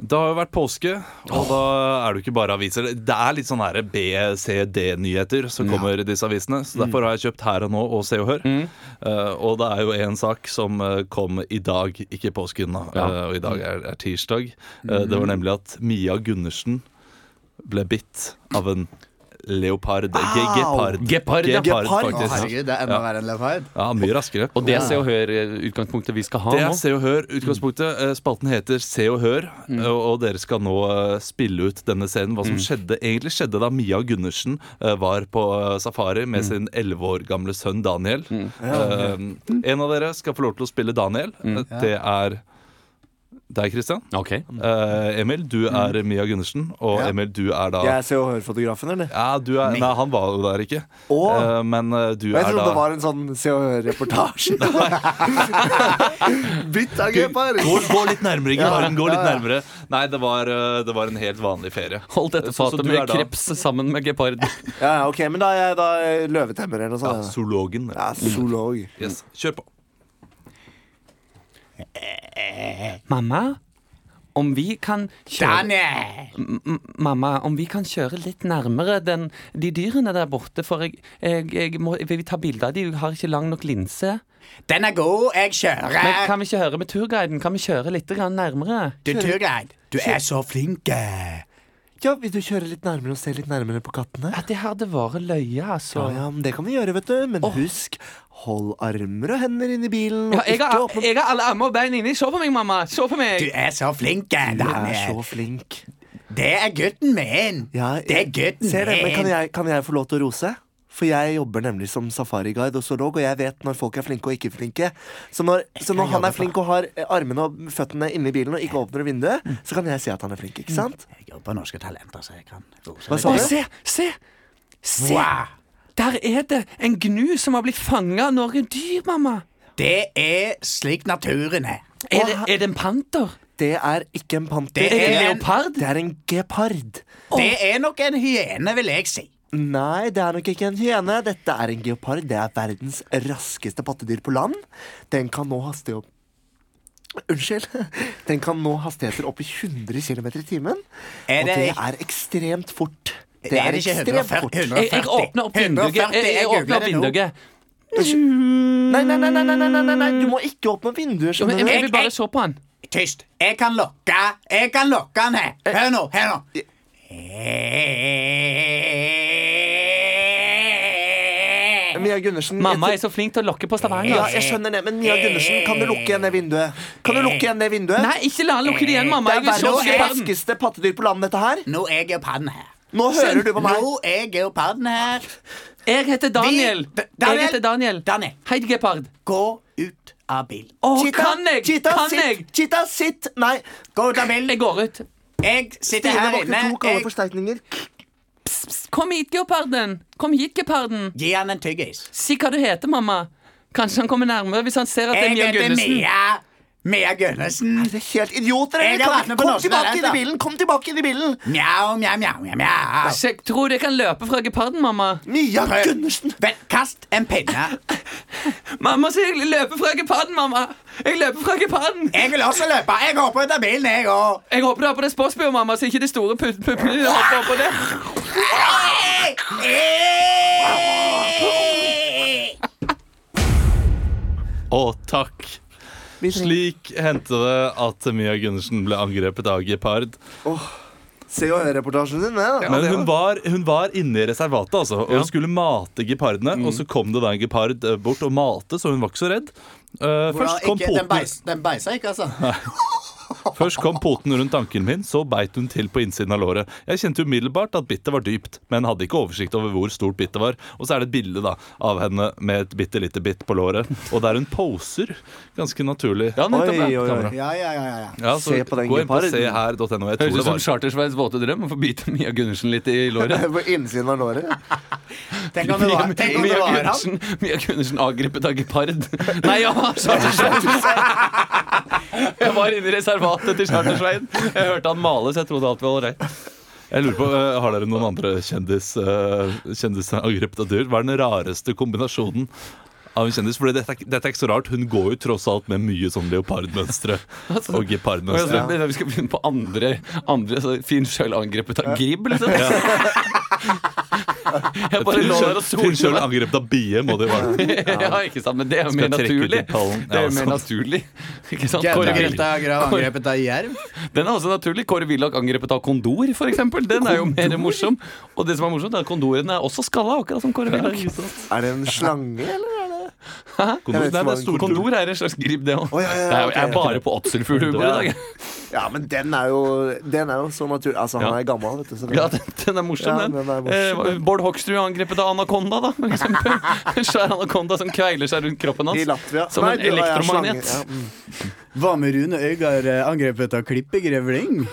Speaker 4: Det har jo vært påske, og da er det jo ikke bare aviser. Det er litt sånn her B, C, D-nyheter som kommer i disse avisene. Så derfor har jeg kjøpt Her og Nå og Se og Hør. Eh, og det er jo en sak som eh, kom i dag, ikke i påsken, da. Eh, og i dag er, er tirsdag. Eh, det var nemlig at Mia Gundersen ble bitt av en leopard. Ge gepard.
Speaker 3: Gepard, ja.
Speaker 4: gepard,
Speaker 2: Å,
Speaker 4: faktisk.
Speaker 2: herregud, det er enda verre enn leopard.
Speaker 4: Ja, mye raskere.
Speaker 3: Og det er Se og Hør-utgangspunktet vi skal ha
Speaker 4: Det er
Speaker 3: nå.
Speaker 4: Se og Hør. Utgangspunktet Eh, Spalten heter Se og Hør, og og dere skal nå eh, spille ut denne scenen. Hva som skjedde, egentlig skjedde da Mia Gundersen eh, var på eh, safari med sin 11 år gamle sønn Daniel. Eh, En av dere skal få lov til å spille Daniel. Eh, Det er deg, Christian.
Speaker 3: Ok.
Speaker 4: Eh, Emil, du er Mia Gundersen, og
Speaker 1: Ja.
Speaker 4: Emil, du er da
Speaker 1: Jeg er Se og Hør-fotografen, eller?
Speaker 4: Ja, du er, nei, han var jo der ikke.
Speaker 1: Å.
Speaker 4: Eh, men eh, du
Speaker 1: Og jeg
Speaker 4: er
Speaker 1: trodde
Speaker 4: da
Speaker 1: det var en sånn Se og Hør-reportasje. Bytt angreper!
Speaker 4: Gå, gå litt nærmere, Inge Maren. Gå litt nærmere. Nei, det var, eh, det var en helt vanlig ferie. Eh,
Speaker 3: Hold dette
Speaker 4: Så- så
Speaker 3: fatet
Speaker 4: du er
Speaker 3: med
Speaker 4: da-
Speaker 3: kreps sammen med gepard.
Speaker 1: Ja, ja, ok, men da er jeg da er jeg løvetemmer eller noe
Speaker 4: Ja,
Speaker 1: sånt.
Speaker 4: zoologen.
Speaker 1: Ja, zoolog.
Speaker 4: Yes. Kjør på.
Speaker 3: Mamma, om vi kan kjøre M- m- Mamma, om vi kan kjøre litt nærmere den, de dyrene der borte, for jeg, jeg, jeg må jeg vil ta bilde av de, jeg har ikke lang nok linse.
Speaker 2: Den er god, jeg
Speaker 3: Men
Speaker 2: kjører.
Speaker 3: kan vi ikke høre med turguiden? Kan vi kjøre litt grann nærmere?
Speaker 2: Du, Turgeir, du er så flink. eh.
Speaker 1: Ja, vil du kjøre litt nærmere og se litt nærmere på kattene?
Speaker 3: Ja, det hadde vært løye, altså.
Speaker 1: Ja, ja, men det kan vi gjøre, vet du. Men husk, hold armer og hender inni bilen.
Speaker 3: Ja,
Speaker 1: og
Speaker 3: jeg,
Speaker 1: ikke
Speaker 3: har,
Speaker 1: åpne-
Speaker 3: jeg har alle armer og bein inni. Se på meg, mamma! Se på
Speaker 2: Du
Speaker 3: meg!
Speaker 2: er så flink. eh,
Speaker 1: Du er så
Speaker 2: Daniel.
Speaker 1: flink.
Speaker 2: Det er gutten min.
Speaker 1: Ja,
Speaker 2: Det er gutten
Speaker 1: ser det, men kan
Speaker 2: min.
Speaker 1: jeg, kan jeg få lov til å rose? For jeg jobber nemlig som safariguide og zoolog, og jeg vet når folk er flinke og ikke flinke. Så når, så når han er flink og har eh, armene og føttene inni bilen og ikke åpner vinduet, så kan jeg si at han er
Speaker 3: Mm.
Speaker 1: flink, ikke sant?
Speaker 2: Jeg jobber Norske Talenter, så jeg kan rose
Speaker 1: Hva
Speaker 2: deg.
Speaker 1: sa
Speaker 3: Å,
Speaker 1: du?
Speaker 3: se! Se! Se!
Speaker 2: Wow.
Speaker 3: Der er det en gnu som har blitt fanga av noen dyr, mamma.
Speaker 2: Det er slik naturen er.
Speaker 3: Er det, er det en panter?
Speaker 1: Det er ikke en panter.
Speaker 2: Det
Speaker 3: Er det en
Speaker 2: er en-
Speaker 3: leopard?
Speaker 1: Det er en gepard.
Speaker 2: Det er nok en hyene, vil jeg si.
Speaker 1: Nei, det er nok ikke en hyene. Dette er en geopard. Det er verdens raskeste pattedyr på land. Den kan nå haste opp Unnskyld. Den kan nå hastigheter opp i 100 km i timen.
Speaker 2: Er
Speaker 1: og det
Speaker 2: det-
Speaker 1: er ekstremt fort. Det
Speaker 2: Er det ikke 140?
Speaker 3: Jeg, jeg åpner opp vinduet. Jeg,
Speaker 2: 140,
Speaker 3: jeg,
Speaker 2: jeg
Speaker 3: åpner
Speaker 2: googler
Speaker 3: opp
Speaker 2: det nå.
Speaker 3: vinduet.
Speaker 1: Nei, nei, nei, nei, nei, nei, nei, nei. du må ikke åpne vinduer.
Speaker 3: Ja,
Speaker 1: skjønner
Speaker 3: men jeg,
Speaker 1: du?
Speaker 3: jeg vil bare se på han.
Speaker 2: Tyst. Jeg kan lokke. Jeg kan lokke han her.
Speaker 3: Eh,
Speaker 2: Hør nå. Eh. Hør nå.
Speaker 1: Mia Gundersen
Speaker 3: Mamma er
Speaker 1: jeg,
Speaker 3: så flink til å lokke på
Speaker 1: ja,
Speaker 3: Stavanger.
Speaker 1: jeg skjønner det, men Mia Gundersen, kan du lukke igjen det vinduet? Kan du lukke igjen det vinduet?
Speaker 3: Nei, ikke la han lukke det igjen, mamma.
Speaker 1: det er
Speaker 3: Jeg vil se
Speaker 1: verdens
Speaker 3: geparden.
Speaker 1: raskeste pattedyr på land, dette her.
Speaker 2: Nå er geoparden her.
Speaker 1: Nå hører du på meg.
Speaker 2: Nå er geoparden her.
Speaker 3: Jeg heter Daniel.
Speaker 2: Vi- D-
Speaker 3: Jeg
Speaker 2: Daniel.
Speaker 3: heter Daniel.
Speaker 2: Daniel.
Speaker 3: Hei, gepard.
Speaker 2: Gå ut av bilen.
Speaker 3: Å,
Speaker 1: Cheetah,
Speaker 3: kan jeg?
Speaker 1: cheetah,
Speaker 3: Kan
Speaker 1: sitt,
Speaker 3: jeg?
Speaker 1: Cheetah, sitt! Nei,
Speaker 2: Gå ut av bilen.
Speaker 3: Jeg går ut.
Speaker 2: Jeg
Speaker 1: Stine
Speaker 2: sitter her
Speaker 1: våkner to
Speaker 2: inne.
Speaker 1: kalde
Speaker 2: Jeg
Speaker 1: forsterkninger.
Speaker 3: Kom hit, geparden. Kom hit, geparden.
Speaker 2: Gi han en tyggis.
Speaker 3: Si hva du heter, mamma. Kanskje han kommer nærmere hvis han ser at det er
Speaker 2: Jeg
Speaker 3: Mia
Speaker 2: heter
Speaker 3: Gunnesen.
Speaker 2: Mia. Mia Gunnesen.
Speaker 1: Dere er helt idioter!
Speaker 2: Jeg
Speaker 1: Dere.
Speaker 2: har
Speaker 1: Kom,
Speaker 2: vært med på
Speaker 1: kom
Speaker 2: altså. Norsen
Speaker 1: tilbake
Speaker 2: her,
Speaker 1: inn i
Speaker 2: da.
Speaker 1: bilen! Kom tilbake inn i bilen!
Speaker 2: Mjau, mjau, mjau, mjau, mjau.
Speaker 3: Se, Tror du jeg kan løpe fra geparden, mamma?
Speaker 1: Mia Gundersen!
Speaker 2: Vel, kast en pinne.
Speaker 3: Mamma sier jeg løper fra geparden, mamma. Jeg løper fra geparden.
Speaker 2: Jeg vil også løpe. Jeg hopper ut av bilen, jeg òg.
Speaker 3: Jeg håper du har på deg sportsbue, mamma, så ikke de store put- puppene dine hopper oppå det.
Speaker 4: Å, takk. Slik hendte det at Mia Gundersen ble angrepet av gepard.
Speaker 1: Se og hør-reportasjen din. Ja.
Speaker 4: Men hun var, hun var inne i reservatet altså, og hun skulle mate gepardene. Og så kom det da en gepard eh, bort og malte, så hun var ikke så redd. Eh, først, kom
Speaker 2: den,
Speaker 4: poten,
Speaker 2: beis, den beiser ikke, altså.
Speaker 4: først kom poten rundt anken min, så beit hun til på innsiden av låret. Jeg kjente umiddelbart at bittet var dypt, men hadde ikke oversikt over hvor stort bittet var. Og så er det et bilde da, av henne med et bitte lite bitt på låret, og der hun poser ganske naturlig. Ja,
Speaker 1: nettopp, Oi, ja. oi, oi.
Speaker 2: Ja, ja, ja, ja, ja.
Speaker 4: så
Speaker 1: Se på den
Speaker 4: gå inn på
Speaker 1: geparden.
Speaker 4: seher.no. Jeg tror det
Speaker 3: Høres ut som
Speaker 4: var
Speaker 3: Chartersveis våte drøm å få bite Mia Gundersen litt i låret.
Speaker 1: På innsiden av låret.
Speaker 2: Tenk om det var, tenk om det
Speaker 3: Mia
Speaker 2: var han.
Speaker 3: Gundersen, Mia Gundersen angrepet av gepard. Nei, ja, Chartersveis. Jeg var inne i reservatet til Chartersveien. Jeg hørte han male, så jeg trodde alt var ålreit.
Speaker 4: Jeg lurer på, eh, Har dere noen andre kjendis, eh, kjendisangrep av dyr? Hva er den rareste kombinasjonen av en kjendis? Fordi dette, er ikke- dette er ikke så rart. Hun går jo tross alt med mye sånn leopardmønstre
Speaker 3: Altså,
Speaker 4: og
Speaker 3: Og jeg
Speaker 4: gepardmønstre.
Speaker 3: trodde Vi skal begynne på andre, andre altså, så Finn sjøl angrepet av Gribb, liksom. Jeg bare lå der og solte
Speaker 4: Sjøl
Speaker 3: meg.
Speaker 4: angrepet av bie, må det jo være.
Speaker 3: Ja, ikke sant, men det er jo
Speaker 4: Skal
Speaker 3: mer
Speaker 4: trekke til
Speaker 3: naturlig.
Speaker 4: pallen.
Speaker 3: Det er
Speaker 4: Ja, altså.
Speaker 3: jo mer
Speaker 4: sant.
Speaker 3: naturlig. Ikke sant?
Speaker 2: Gauda
Speaker 3: Kåre Willoch-
Speaker 2: Greta Grav angrepet av jerv.
Speaker 3: Den er også naturlig. Kåre Willoch angrepet av kondor, f.eks. Den er jo mer morsom. Og det som er morsomt, er at kondorene er også skalla, akkurat som Kåre Willoch.
Speaker 1: Er det en slange, eller? er det-
Speaker 4: Kondor,
Speaker 1: Jeg vet
Speaker 4: nei,
Speaker 1: ikke
Speaker 4: det er
Speaker 1: hva en
Speaker 4: stor kondor.
Speaker 3: Kondor er en slags grip, det òg.
Speaker 1: Å, ja, ja, ja,
Speaker 3: Jeg
Speaker 1: ok,
Speaker 3: er
Speaker 1: ok.
Speaker 3: bare på åtselfuglhumor i dag.
Speaker 1: Ja, men den er jo, den er jo så naturlig. Altså, han
Speaker 3: Ja.
Speaker 1: er gammel, vet du. Så
Speaker 3: Ja,
Speaker 1: det.
Speaker 3: den, den er morsom,
Speaker 1: Ja,
Speaker 3: den.
Speaker 1: den er morsom.
Speaker 3: Eh, Bård Hoksrud angrepet av anakonda, da. for eksempel. En svær anakonda som kveiler seg rundt kroppen
Speaker 1: I
Speaker 3: hans.
Speaker 1: Latvia.
Speaker 3: Som en
Speaker 1: det var jeg,
Speaker 3: elektromagnet.
Speaker 1: slange. Ja, mm.
Speaker 2: Hva med Rune Øygard eh, angrepet av klippegrevling?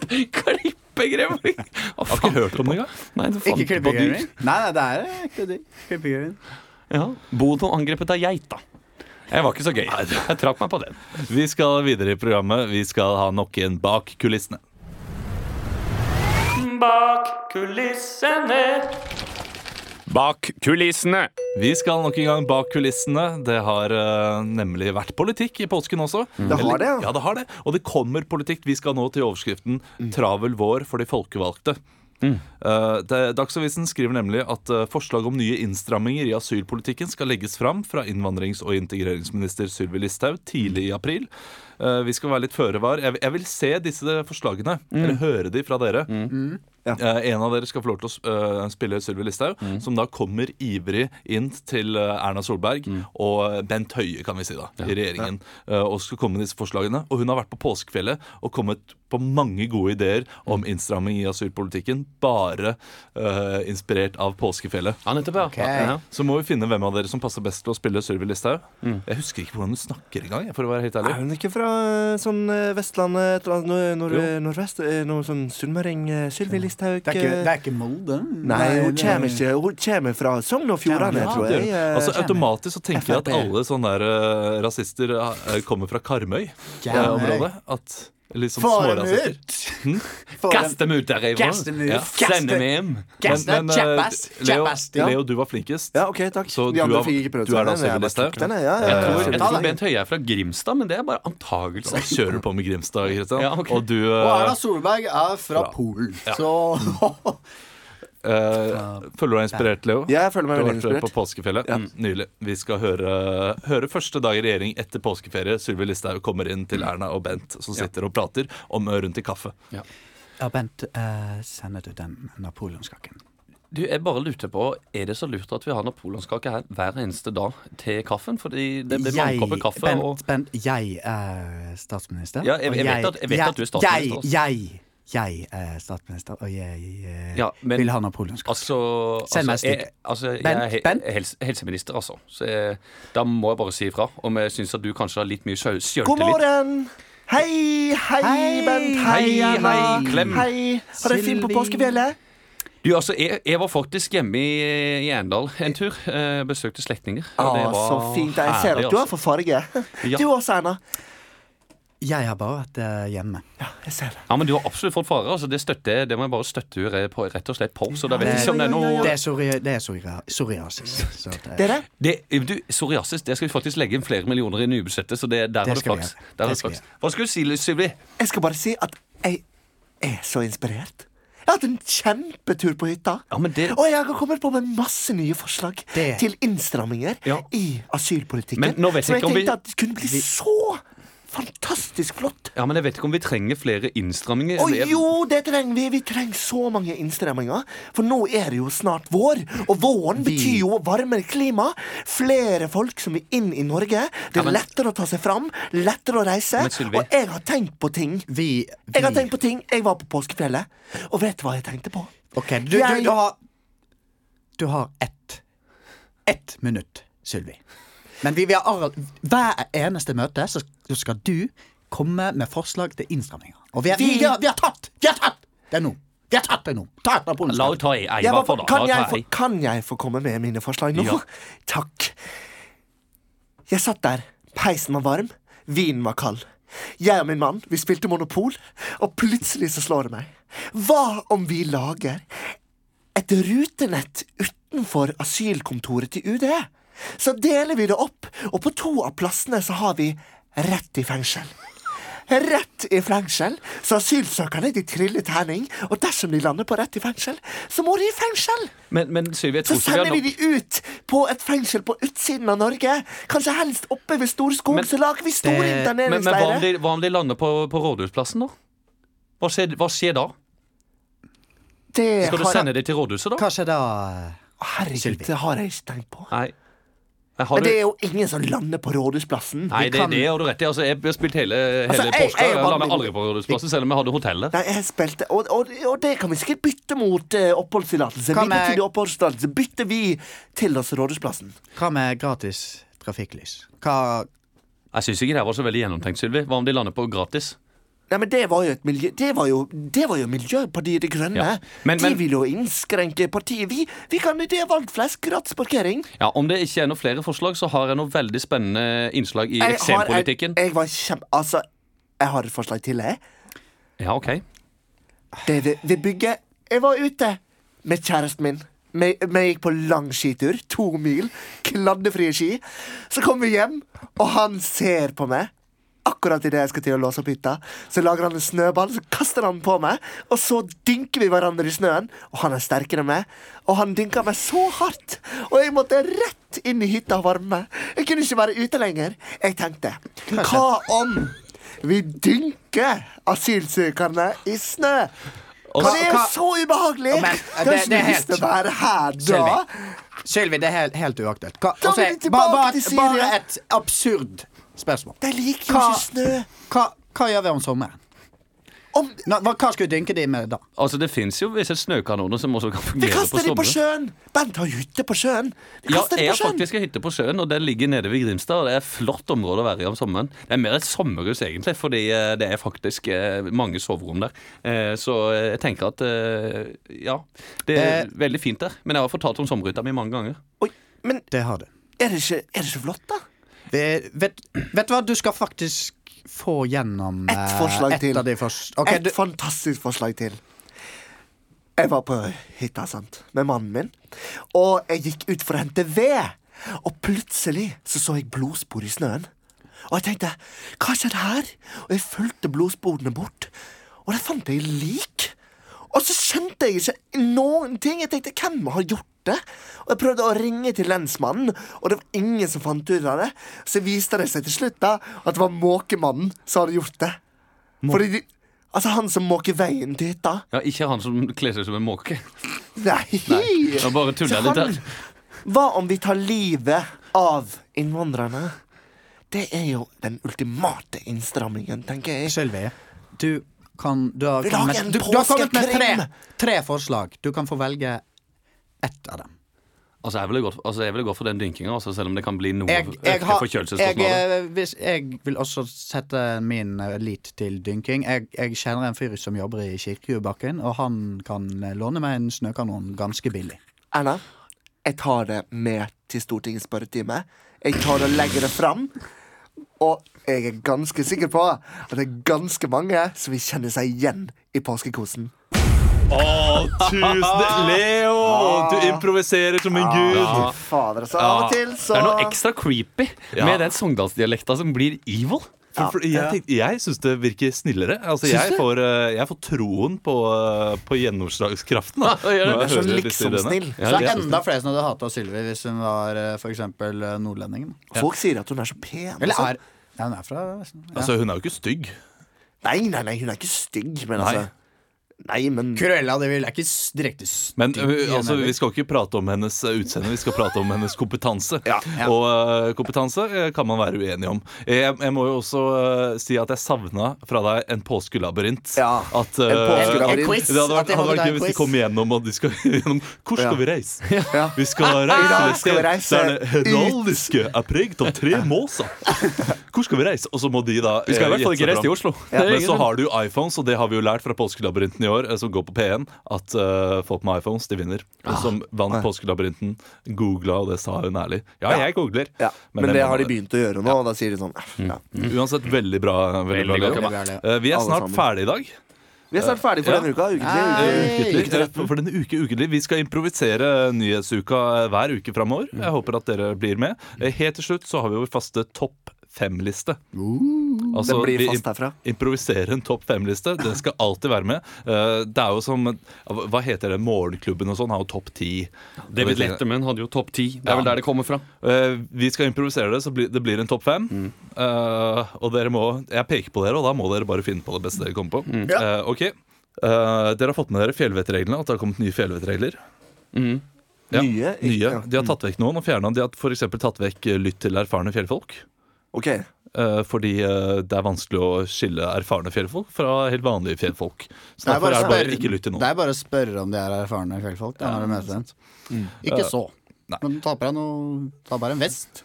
Speaker 3: Klippegrevling! Å,
Speaker 4: Har ikke
Speaker 3: faen.
Speaker 4: hørt om det engang.
Speaker 3: Nei, du fant på
Speaker 2: Ikke
Speaker 3: dyr.
Speaker 2: klippegrevling? Nei, nei, det er eh, ekte dyr. Klippegrevling.
Speaker 3: Ja. Bono angrepet av geita. Jeg var ikke så gøy. Jeg trakk meg på den.
Speaker 4: Vi skal videre i programmet. Vi skal ha nok en bak kulissene.
Speaker 5: Bak kulissene.
Speaker 6: Bak kulissene.
Speaker 4: Vi skal nok en gang bak kulissene. Det har eh, nemlig vært politikk i påsken også.
Speaker 1: Mm. Det har
Speaker 4: Eller-
Speaker 1: det, ja.
Speaker 4: ja. det har det. Og det kommer politikk. Vi skal nå til overskriften
Speaker 1: Mm.
Speaker 4: 'Travel vår for de folkevalgte'. Eh, det, Dagsavisen skriver nemlig at eh, forslag om nye innstramminger i asylpolitikken skal legges fram fra innvandrings- og integreringsminister Sylvi Listhaug tidlig i april. Eh, vi skal være litt føre var. Jeg, jeg vil se disse forslagene,
Speaker 1: Mm.
Speaker 4: eller høre de fra dere. Eh, en av dere skal få lov til å s- eh, spille Sylvi Listhaug, som da kommer ivrig inn til eh, Erna Solberg og eh, Bent Høie, kan vi si, da, i regjeringen, eh, og skal komme med disse forslagene. Og hun har vært på påskefjellet og kommet på mange gode ideer om innstramming i asylpolitikken, bare eh, inspirert av påskefjellet.
Speaker 3: Ja, nettopp, ja. ja.
Speaker 4: Så må vi finne hvem av dere som passer best til å spille Sylvi Listhaug. Jeg husker ikke hvordan hun snakker engang, jeg, for å være helt ærlig.
Speaker 1: Er hun ikke fra eh, sånn eh, Vestlandet, et eller annet nord- nord- nordvest? eh, Noe sånn sunnmøring? eh, Sylvi Listhaug?
Speaker 2: Det er ikke,
Speaker 1: eh,
Speaker 2: det er ikke Molde.
Speaker 1: Nei, hun
Speaker 2: det-
Speaker 1: kommer ikke. Hun kommer fra Sogn og Fjordane,
Speaker 2: Ja,
Speaker 1: tror
Speaker 4: Det
Speaker 1: jeg.
Speaker 4: gjør hun.
Speaker 1: Eh,
Speaker 4: altså Automatisk så tenker jeg at
Speaker 1: FrP.
Speaker 4: alle sånne der, eh, rasister eh, kommer fra
Speaker 2: Karmøy.
Speaker 4: Karmøy-området. at liksom
Speaker 2: Få dem
Speaker 4: smårasister.
Speaker 2: ut! Få dem-
Speaker 3: Kast dem ut derifra!
Speaker 2: Kast dem ut.
Speaker 3: Ja.
Speaker 2: Kast
Speaker 3: Send
Speaker 2: dem.
Speaker 3: dem hjem!
Speaker 2: Kast dem.
Speaker 4: eh,
Speaker 2: Kjepphest.
Speaker 4: Leo,
Speaker 2: Kjepphest, ja.
Speaker 4: Leo, du var flinkest.
Speaker 1: Ja, OK, takk.
Speaker 4: Så
Speaker 1: De
Speaker 4: du
Speaker 1: andre
Speaker 4: har-
Speaker 1: fikk ikke prøvd
Speaker 4: du er da
Speaker 1: seg. Jeg
Speaker 4: Sylvi
Speaker 1: bare tok
Speaker 4: Listhaug?
Speaker 1: den, jeg. Ja, jeg
Speaker 4: Eh,
Speaker 1: tror
Speaker 3: Jeg
Speaker 1: Sylvi
Speaker 3: tror
Speaker 1: Listhaug.
Speaker 3: Bent Høie er fra Grimstad, men det er bare antagelser.
Speaker 4: Kjører du på med Grimstad, Kristian?
Speaker 3: Ja, ok.
Speaker 4: Og du eh,
Speaker 2: Og Erna Solberg er fra Polen,
Speaker 3: Mm.
Speaker 2: så
Speaker 4: eh, føler du deg inspirert, Leo?
Speaker 1: Jeg føler
Speaker 4: Du
Speaker 1: meg
Speaker 4: har
Speaker 1: veldig
Speaker 4: vært på
Speaker 1: inspirert.
Speaker 4: påskefjellet Mm, nylig. Vi skal høre, høre første dag i regjering etter påskeferie. Sylvi Listhaug kommer inn til Erna og Bent, som sitter og prater om rundt i kaffe.
Speaker 2: Ja, Bent, eh, sender du den napoleonskaken?
Speaker 3: Du, jeg bare lurte på, Er det så lurt at vi har napoleonskake her hver eneste dag til kaffen? Fordi det blir mange kopper kaffe.
Speaker 2: Bent,
Speaker 3: og...
Speaker 2: Bent, jeg er statsminister.
Speaker 3: Ja, jeg- jeg vet
Speaker 2: og
Speaker 3: at- jeg vet at du er statsminister også.
Speaker 2: Jeg, jeg, jeg er statsminister, og jeg eh,
Speaker 3: Ja, men-
Speaker 2: vil ha napoleonskake.
Speaker 3: Altså,
Speaker 2: Send meg
Speaker 3: altså,
Speaker 2: et stykke.
Speaker 3: jeg, altså jeg
Speaker 2: Bent,
Speaker 3: er he
Speaker 2: Bent?
Speaker 3: helse, helseminister, altså. Så jeg, da må jeg bare si ifra. Om jeg syns at du kanskje har litt mye sjøl-
Speaker 1: God
Speaker 3: sjøltillit.
Speaker 1: morgen! Hei, hei,
Speaker 2: Hei.
Speaker 1: Bent. Hei,
Speaker 3: Hei,
Speaker 1: Anna.
Speaker 3: hei, klem.
Speaker 1: Hei. Har dere fint på
Speaker 2: Sylvi.
Speaker 1: påskefjellet?
Speaker 3: Du, altså, jeg, jeg var faktisk hjemme i, i Arendal en tur. Eh, besøkte slektninger.
Speaker 1: Å,
Speaker 3: og det var
Speaker 1: Ah, så fint. Jeg ser
Speaker 3: herlig,
Speaker 1: at du er
Speaker 3: altså.
Speaker 1: for farge.
Speaker 3: Ja.
Speaker 1: Du også, Erna.
Speaker 2: Jeg har bare vært eh, hjemme.
Speaker 1: Jeg ser det.
Speaker 3: Ja, men du har absolutt fått fare. Altså, det, støtter, jeg- det må jeg bare støtte henne på, rett og slett på. Så da vet jeg ikke om det er noe
Speaker 2: Det er, psori det er psoria- psoriasis. Så eh, det,
Speaker 1: Dere?
Speaker 3: Det, du, Psoriasis det skal vi faktisk legge inn flere millioner i nybudsjettet. Så det, der har du
Speaker 2: skal vi
Speaker 3: flaks.
Speaker 2: gjøre.
Speaker 3: Der har
Speaker 2: Det
Speaker 3: du
Speaker 2: skal vi
Speaker 3: flaks. Hva skulle du si, Sylvi?
Speaker 1: Jeg skal bare si at jeg er så inspirert. Jeg har hatt en kjempetur på hytta.
Speaker 3: Ja, men det-
Speaker 1: Og jeg har kommet på med masse nye forslag
Speaker 2: Det-
Speaker 1: til innstramminger
Speaker 3: Ja.
Speaker 1: i asylpolitikken.
Speaker 3: Men nå vet
Speaker 1: som jeg
Speaker 3: jeg ikke om vi-
Speaker 1: tenkte at kunne bli så fantastisk flott.
Speaker 3: Ja, men Jeg vet ikke om vi trenger flere innstramminger.
Speaker 1: Å
Speaker 3: Det-
Speaker 1: jo, det trenger vi! Vi trenger så mange innstramminger. For nå er det jo snart vår, og våren betyr jo varmere klima. Flere folk som vil inn i Norge. Det
Speaker 3: Ja,
Speaker 1: er
Speaker 3: men-
Speaker 1: lettere å ta seg fram, lettere å reise.
Speaker 3: Men Sylvi-
Speaker 1: Og jeg har tenkt på ting.
Speaker 2: vi, vi
Speaker 1: Jeg har tenkt på ting. Jeg var på påskefjellet, og vet du hva jeg tenkte på?
Speaker 2: Ok, du, du,
Speaker 1: Jeg-
Speaker 2: du har Du har ett Ett minutt, Sylvi. Men vi vil ha Arald Hver eneste møte så så skal du komme med forslag til innstramminger. Og vi har, vi,
Speaker 1: Vi-
Speaker 2: har, vi har tatt! Vi har tatt det er nå! Vi har tatt det nå! Ta et napoleonskake.
Speaker 3: La henne ta ei, ei
Speaker 1: Jeg var
Speaker 3: hva for
Speaker 1: på,
Speaker 3: da.
Speaker 1: kan,
Speaker 3: La
Speaker 1: jeg
Speaker 3: henne ta
Speaker 1: få,
Speaker 3: ei.
Speaker 1: kan jeg få komme med mine forslag nå?
Speaker 3: Ja.
Speaker 1: Takk. Jeg satt der. Peisen var varm, vinen var kald. Jeg og min mann vi spilte Monopol, og plutselig så slår det meg. Hva om vi lager et rutenett utenfor asylkontoret til UD? Så deler vi det opp, og på to av plassene så har vi rett i fengsel. Rett i fengsel, så asylsøkerne de triller terning, og dersom de lander på rett i fengsel, så må de i fengsel!
Speaker 3: Men, men Sylvi, jeg tror
Speaker 1: Så
Speaker 3: ikke vi har
Speaker 1: sender vi
Speaker 3: nok
Speaker 1: de ut på et fengsel på utsiden av Norge. Kanskje helst oppe ved Storskog,
Speaker 3: Men-
Speaker 1: så lager vi store
Speaker 3: Men,
Speaker 2: Det-
Speaker 3: men hva, om
Speaker 1: interneringsleirer.
Speaker 3: de, hva om de lander på, på Rådhusplassen, da? Hva skjer, hva skjer da?
Speaker 1: Det
Speaker 3: Skal du
Speaker 1: har jeg,
Speaker 3: sende dem til rådhuset, da?
Speaker 2: Hva skjer da?
Speaker 1: herregud,
Speaker 2: Sylvi?
Speaker 1: det har jeg ikke tenkt på.
Speaker 3: Nei. Nei, har
Speaker 1: Men
Speaker 3: du,
Speaker 1: det er jo ingen som lander på Rådhusplassen.
Speaker 3: nei det,
Speaker 2: kan-
Speaker 3: det har du rett i. Altså, jeg har spilt hele, hele
Speaker 1: Altså, jeg-
Speaker 3: påska.
Speaker 1: jeg
Speaker 3: Jeg,
Speaker 1: er bare-
Speaker 3: la meg aldri på Rådhusplassen, selv om jeg hadde hotellet.
Speaker 1: Nei, jeg spilte og, og, og det kan vi sikkert bytte mot eh, oppholdstillatelse.
Speaker 2: Hva med-
Speaker 1: Midlertidig oppholdstillatelse bytter vi til oss Rådhusplassen.
Speaker 2: Hva med gratis trafikklys? Hva
Speaker 3: Jeg syns ikke det her var så veldig gjennomtenkt, Sylvi. Hva om de lander på gratis?
Speaker 1: Nei, men det var jo et miljø... Det var jo, det var jo Miljøpartiet De Grønne.
Speaker 3: Ja. Men-
Speaker 1: de
Speaker 3: men-
Speaker 1: vil jo innskrenke partiet. Vi, vi kan det er valgt flest gratis parkering.
Speaker 3: Ja, Om det ikke er noen flere forslag, så har jeg noe veldig spennende innslag i
Speaker 1: Jeg har-
Speaker 3: eksempolitikken.
Speaker 1: Jeg, jeg var kjempe... Altså, jeg har et forslag til, jeg.
Speaker 3: Ja, ok.
Speaker 1: Det vi, vi bygger Jeg var ute med kjæresten min. Vi, vi gikk på lang skitur. To mil. Kladdefrie ski. Så kom vi hjem, og han ser på meg. Akkurat idet jeg skal til å låse opp hytta, så lager han en snøball, så kaster han den på meg, og så dynker vi hverandre i snøen, og han er sterkere enn meg, og han dynka meg så hardt, og jeg måtte rett inn i hytta og varme meg. Jeg kunne ikke være ute lenger. Jeg tenkte, hva om vi dynker asylsøkerne i snø? Hva det er jo
Speaker 2: hva-
Speaker 1: så ubehagelig!
Speaker 2: Ja, men,
Speaker 1: Kanskje
Speaker 2: det- det
Speaker 1: vi
Speaker 2: er
Speaker 1: har lyst til å være her da?
Speaker 2: Sylvi. Sylvi, det er helt, helt uaktuelt. Hva-
Speaker 1: Da vil vi
Speaker 2: altså,
Speaker 1: tilbake
Speaker 2: bare,
Speaker 1: til Syria.
Speaker 2: bare et absurd spørsmål.
Speaker 1: De liker jo
Speaker 2: Hva-
Speaker 1: ikke snø.
Speaker 2: Hva, hva gjør vi om sommeren?
Speaker 1: Om,
Speaker 2: Nå, hva, hva skal vi dynke de med da?
Speaker 3: Altså, Det fins jo visse snøkanoner som også kan
Speaker 1: vi
Speaker 3: fungere på
Speaker 1: kaster de på
Speaker 3: sommeren.
Speaker 1: sjøen! Bent har jo hytte på sjøen. Vi
Speaker 3: Ja,
Speaker 1: kaster de
Speaker 3: jeg
Speaker 1: på
Speaker 3: har
Speaker 1: sjøen.
Speaker 3: faktisk en hytte på sjøen, og den ligger nede ved Grimstad. og Det er et flott område å være i om sommeren. Det er mer et sommerhus, egentlig, fordi eh, det er faktisk eh, mange soverom der. Eh, Så eh, jeg tenker at eh, ja, det er
Speaker 2: Eh.
Speaker 3: veldig fint der. Men jeg har fortalt om sommerhytta mi mange ganger.
Speaker 1: Oi, men
Speaker 2: Det har du.
Speaker 1: er det, ikke, er det ikke flott, da?
Speaker 2: Vi- Vet, vet du hva, du skal faktisk få gjennom
Speaker 1: Ett forslag
Speaker 2: eh, et
Speaker 1: til.
Speaker 2: Av de først. Ok,
Speaker 1: Et
Speaker 2: du,
Speaker 1: fantastisk forslag til. Jeg var på hytta sant, med mannen min, og jeg gikk ut for å hente ved. Og plutselig så, så jeg blodspor i snøen. Og jeg tenkte hva skjedde her? Og jeg fulgte blodsporene bort, og der fant jeg lik. Og så skjønte jeg ikke noen ting. Jeg tenkte hvem har gjort det? Og jeg prøvde å ringe til lensmannen, og det var ingen som fant ut av det. Så viste det seg til slutt da at det var måkemannen som hadde gjort det. Fordi de, altså han som måker veien til hytta.
Speaker 3: Ja, Ikke han som kler seg som en måke.
Speaker 1: Nei!
Speaker 3: Jeg bare tuller
Speaker 1: Så
Speaker 3: litt
Speaker 1: han-
Speaker 3: der.
Speaker 1: Hva om vi tar livet av innvandrerne? Det er jo den ultimate innstrammingen, tenker jeg.
Speaker 2: Sylvi, du kan Du har
Speaker 1: Vi
Speaker 2: kommet,
Speaker 1: lager en
Speaker 2: du, du har kommet med
Speaker 1: påskekrim!
Speaker 2: tre, tre forslag. Du kan få velge ett av dem.
Speaker 3: Altså, Jeg ville gått, altså, jeg ville gått for den dynkinga, altså, selv om det kan bli noe
Speaker 2: Jeg, jeg, har, jeg,
Speaker 3: forkjølelseskostnader.
Speaker 2: eh, hvis, jeg vil også sette min eh, lit til dynking. Jeg, jeg kjenner en fyr som jobber i Kirkejubakken, og han kan eh, låne meg en snøkanon ganske billig.
Speaker 1: Erna, jeg tar det med til Stortingets spørretime. Jeg tar det og legger det fram. Og jeg er ganske sikker på at det er ganske mange som vil kjenne seg igjen i påskekosen.
Speaker 4: Tusen Leo! Du improviserer som
Speaker 3: Ah.
Speaker 4: en gud.
Speaker 1: Fader, altså. Av og til, så
Speaker 3: Det er noe ekstra creepy
Speaker 4: Ja.
Speaker 3: med den sogndalsdialekta som blir evil.
Speaker 4: For, for, jeg tenkte- jeg syns det virker snillere. Altså,
Speaker 3: Syns
Speaker 4: jeg,
Speaker 3: du?
Speaker 4: får, eh, jeg får troen på, eh, på gjennomslagskraften. Da,
Speaker 3: Ja, gjør det.
Speaker 4: når jeg
Speaker 1: Det er så
Speaker 4: hører disse
Speaker 1: liksom
Speaker 4: ideene.
Speaker 1: snill.
Speaker 2: Så
Speaker 3: Ja,
Speaker 2: det
Speaker 3: det
Speaker 2: er enda flere som hadde hata Sylvi hvis hun var eh, for eksempel eh, nordlendingen.
Speaker 1: Folk sier at hun er så pen.
Speaker 2: Eller
Speaker 1: altså.
Speaker 2: er ja, Hun er fra Vesten. ja.
Speaker 4: Altså, hun er jo ikke stygg.
Speaker 1: Nei, nei, nei, hun er ikke stygg, men
Speaker 4: Nei.
Speaker 1: altså Nei, men
Speaker 2: Cruella de Vil er ikke s- direkte
Speaker 4: Men
Speaker 2: stygg
Speaker 4: ø,
Speaker 2: igjen,
Speaker 4: altså,
Speaker 2: eller?
Speaker 4: vi skal ikke prate om hennes ø, utseende, vi skal prate om hennes kompetanse. Og ø, kompetanse ø, kan man være uenig om. Jeg, jeg må jo også ø, si at jeg savna fra deg en påskelabyrint.
Speaker 1: Ja,
Speaker 4: At, ø,
Speaker 1: en påskelabyrint.
Speaker 4: at-
Speaker 1: En quiz,
Speaker 4: Det hadde vært,
Speaker 2: at
Speaker 4: hadde
Speaker 2: jeg hadde
Speaker 4: vært
Speaker 2: deg
Speaker 4: gøy
Speaker 2: en
Speaker 4: hvis de
Speaker 2: quiz.
Speaker 4: kom gjennom og de skal gjennom Hvor skal
Speaker 1: Ja.
Speaker 4: vi reise?
Speaker 1: Ja.
Speaker 4: Vi skal reise
Speaker 1: I dag
Speaker 4: et
Speaker 1: skal vi
Speaker 4: sted
Speaker 1: reise
Speaker 4: der det heraldiske er preget av tre måser. Hvor skal vi reise? Og så må de da
Speaker 3: Vi skal i
Speaker 4: ø,
Speaker 3: hvert fall
Speaker 4: gjette seg
Speaker 3: ikke reise til
Speaker 4: fram.
Speaker 3: Oslo.
Speaker 4: Ja, men så har du iPhones, og det har vi jo lært fra Påskelabyrinten i år, eh, som går på P1, at eh, folk med iPhones, de vinner. Hun Som vant Påskelabyrinten, googla, og det sa hun ærlig. Ja, jeg googler.
Speaker 1: ja. Men, det
Speaker 4: må
Speaker 1: har de
Speaker 4: man-
Speaker 1: begynt å gjøre nå, og da sier de sånn eh, ja.
Speaker 4: Uansett, veldig bra. Veldig bra,
Speaker 3: Veldig
Speaker 4: Leo.
Speaker 2: godt jobba.
Speaker 4: Eh, Vi er
Speaker 1: Alle
Speaker 4: snart
Speaker 1: sammen.
Speaker 4: ferdig i dag.
Speaker 1: Vi er snart ferdig for denne uka. Ukentlig.
Speaker 4: Ukentlig. Eh, For denne uke ukentlig. Vi skal improvisere nyhetsuka hver uke framover.
Speaker 1: Mm.
Speaker 4: Jeg håper at dere blir med. Eh, Helt til slutt så har vi vår faste topp fem-liste. Altså,
Speaker 1: Den blir
Speaker 4: vi
Speaker 1: fast herfra.
Speaker 4: improvisere en topp fem-liste. Den skal alltid være med. Eh, Det er jo som Hva heter det? Morgenklubben og sånn har jo topp ti.
Speaker 3: David Letterman hadde jo topp ti. Det er
Speaker 4: Ja.
Speaker 3: vel der det kommer fra.
Speaker 4: Eh, Vi skal improvisere det, så blir- det blir en topp fem.
Speaker 1: Mm.
Speaker 4: Eh, og dere må Jeg peker på dere, og da må dere bare finne på det beste dere kommer på.
Speaker 1: Mm.
Speaker 4: Eh, ok Eh, Dere har fått med dere fjellvettreglene, at det har kommet nye fjellvettregler. Ja.
Speaker 1: Mm. Nye? Ikke-
Speaker 4: Nye.
Speaker 1: ja. Mm.
Speaker 4: De har tatt vekk noen og fjerna. De har f.eks. tatt vekk eh, 'lytt til erfarne fjellfolk'.
Speaker 1: OK.
Speaker 4: eh, fordi eh, det er vanskelig å skille erfarne fjellfolk fra helt vanlige fjellfolk. Så
Speaker 2: Det er
Speaker 4: derfor er
Speaker 2: bare å
Speaker 4: det bare
Speaker 2: spørre-
Speaker 4: ikke lytt til
Speaker 2: Det
Speaker 4: noen.
Speaker 2: er bare å spørre om de er erfarne fjellfolk da, når du møter dem. Ikke så.
Speaker 4: Nei.
Speaker 2: Men ta på deg noe Ta bare en vest.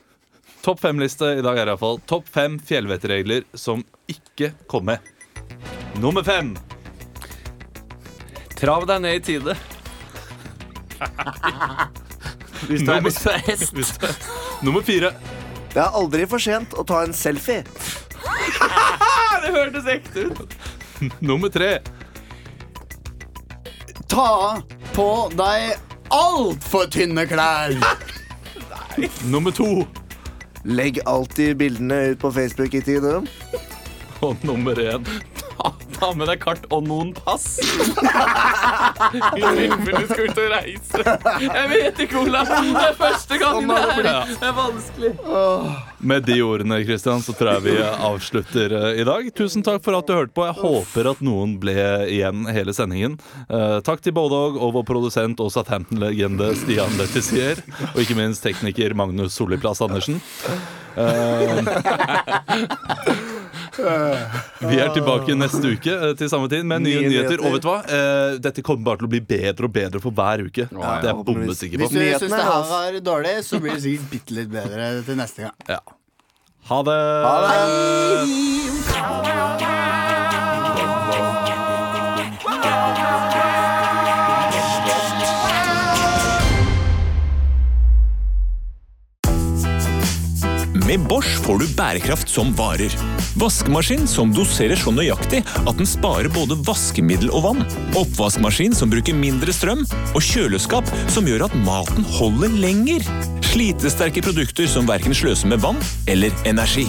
Speaker 4: Topp fem-liste i dag er iallfall topp fem fjellvettregler som ikke kom med. Nummer fem.
Speaker 3: Trav deg ned i tide. Hvis du er, hvis du er hest.
Speaker 4: Hvis det- Nummer fire.
Speaker 1: Det er aldri for sent å ta en selfie.
Speaker 3: Det hørtes ekte ut.
Speaker 4: Nummer tre.
Speaker 7: Ta på deg altfor tynne klær.
Speaker 4: Nummer to.
Speaker 1: Legg alltid bildene ut på Facebook i tide.
Speaker 4: Og nummer én.
Speaker 3: Ta, ta med deg kart og noen pass. I tilfelle du skal ut og reise. Jeg vet ikke, Olav. Det er første gangen det er. Det er vanskelig.
Speaker 4: Med de ordene Christian, så tror jeg vi avslutter eh, i dag. Tusen takk for at du hørte på. Jeg håper at noen ble igjen hele sendingen. Eh, takk til Bådog og vår produsent og Southampton-legende Stian Lettisier. Og ikke minst tekniker Magnus Solliplass Andersen. Eh, vi er tilbake neste uke eh, til samme tid med nye
Speaker 1: Nye
Speaker 4: nyheter.
Speaker 1: nyheter.
Speaker 4: Og vet du hva? Eh, dette kommer bare til å bli bedre og bedre for hver uke. Det er jeg bombesikker
Speaker 1: Hvis
Speaker 4: på.
Speaker 1: du Nyhetene synes det her altså.
Speaker 7: var dårlig, så blir det sikkert bitte litt bedre til neste gang.
Speaker 4: Ja. Ha det!
Speaker 2: Med Bosch får du bærekraft som varer. Vaskemaskin som doserer så nøyaktig at den sparer både vaskemiddel og vann. Oppvaskmaskin som bruker mindre strøm. Og kjøleskap som gjør at maten holder lenger. Slitesterke produkter som verken sløser med vann eller energi.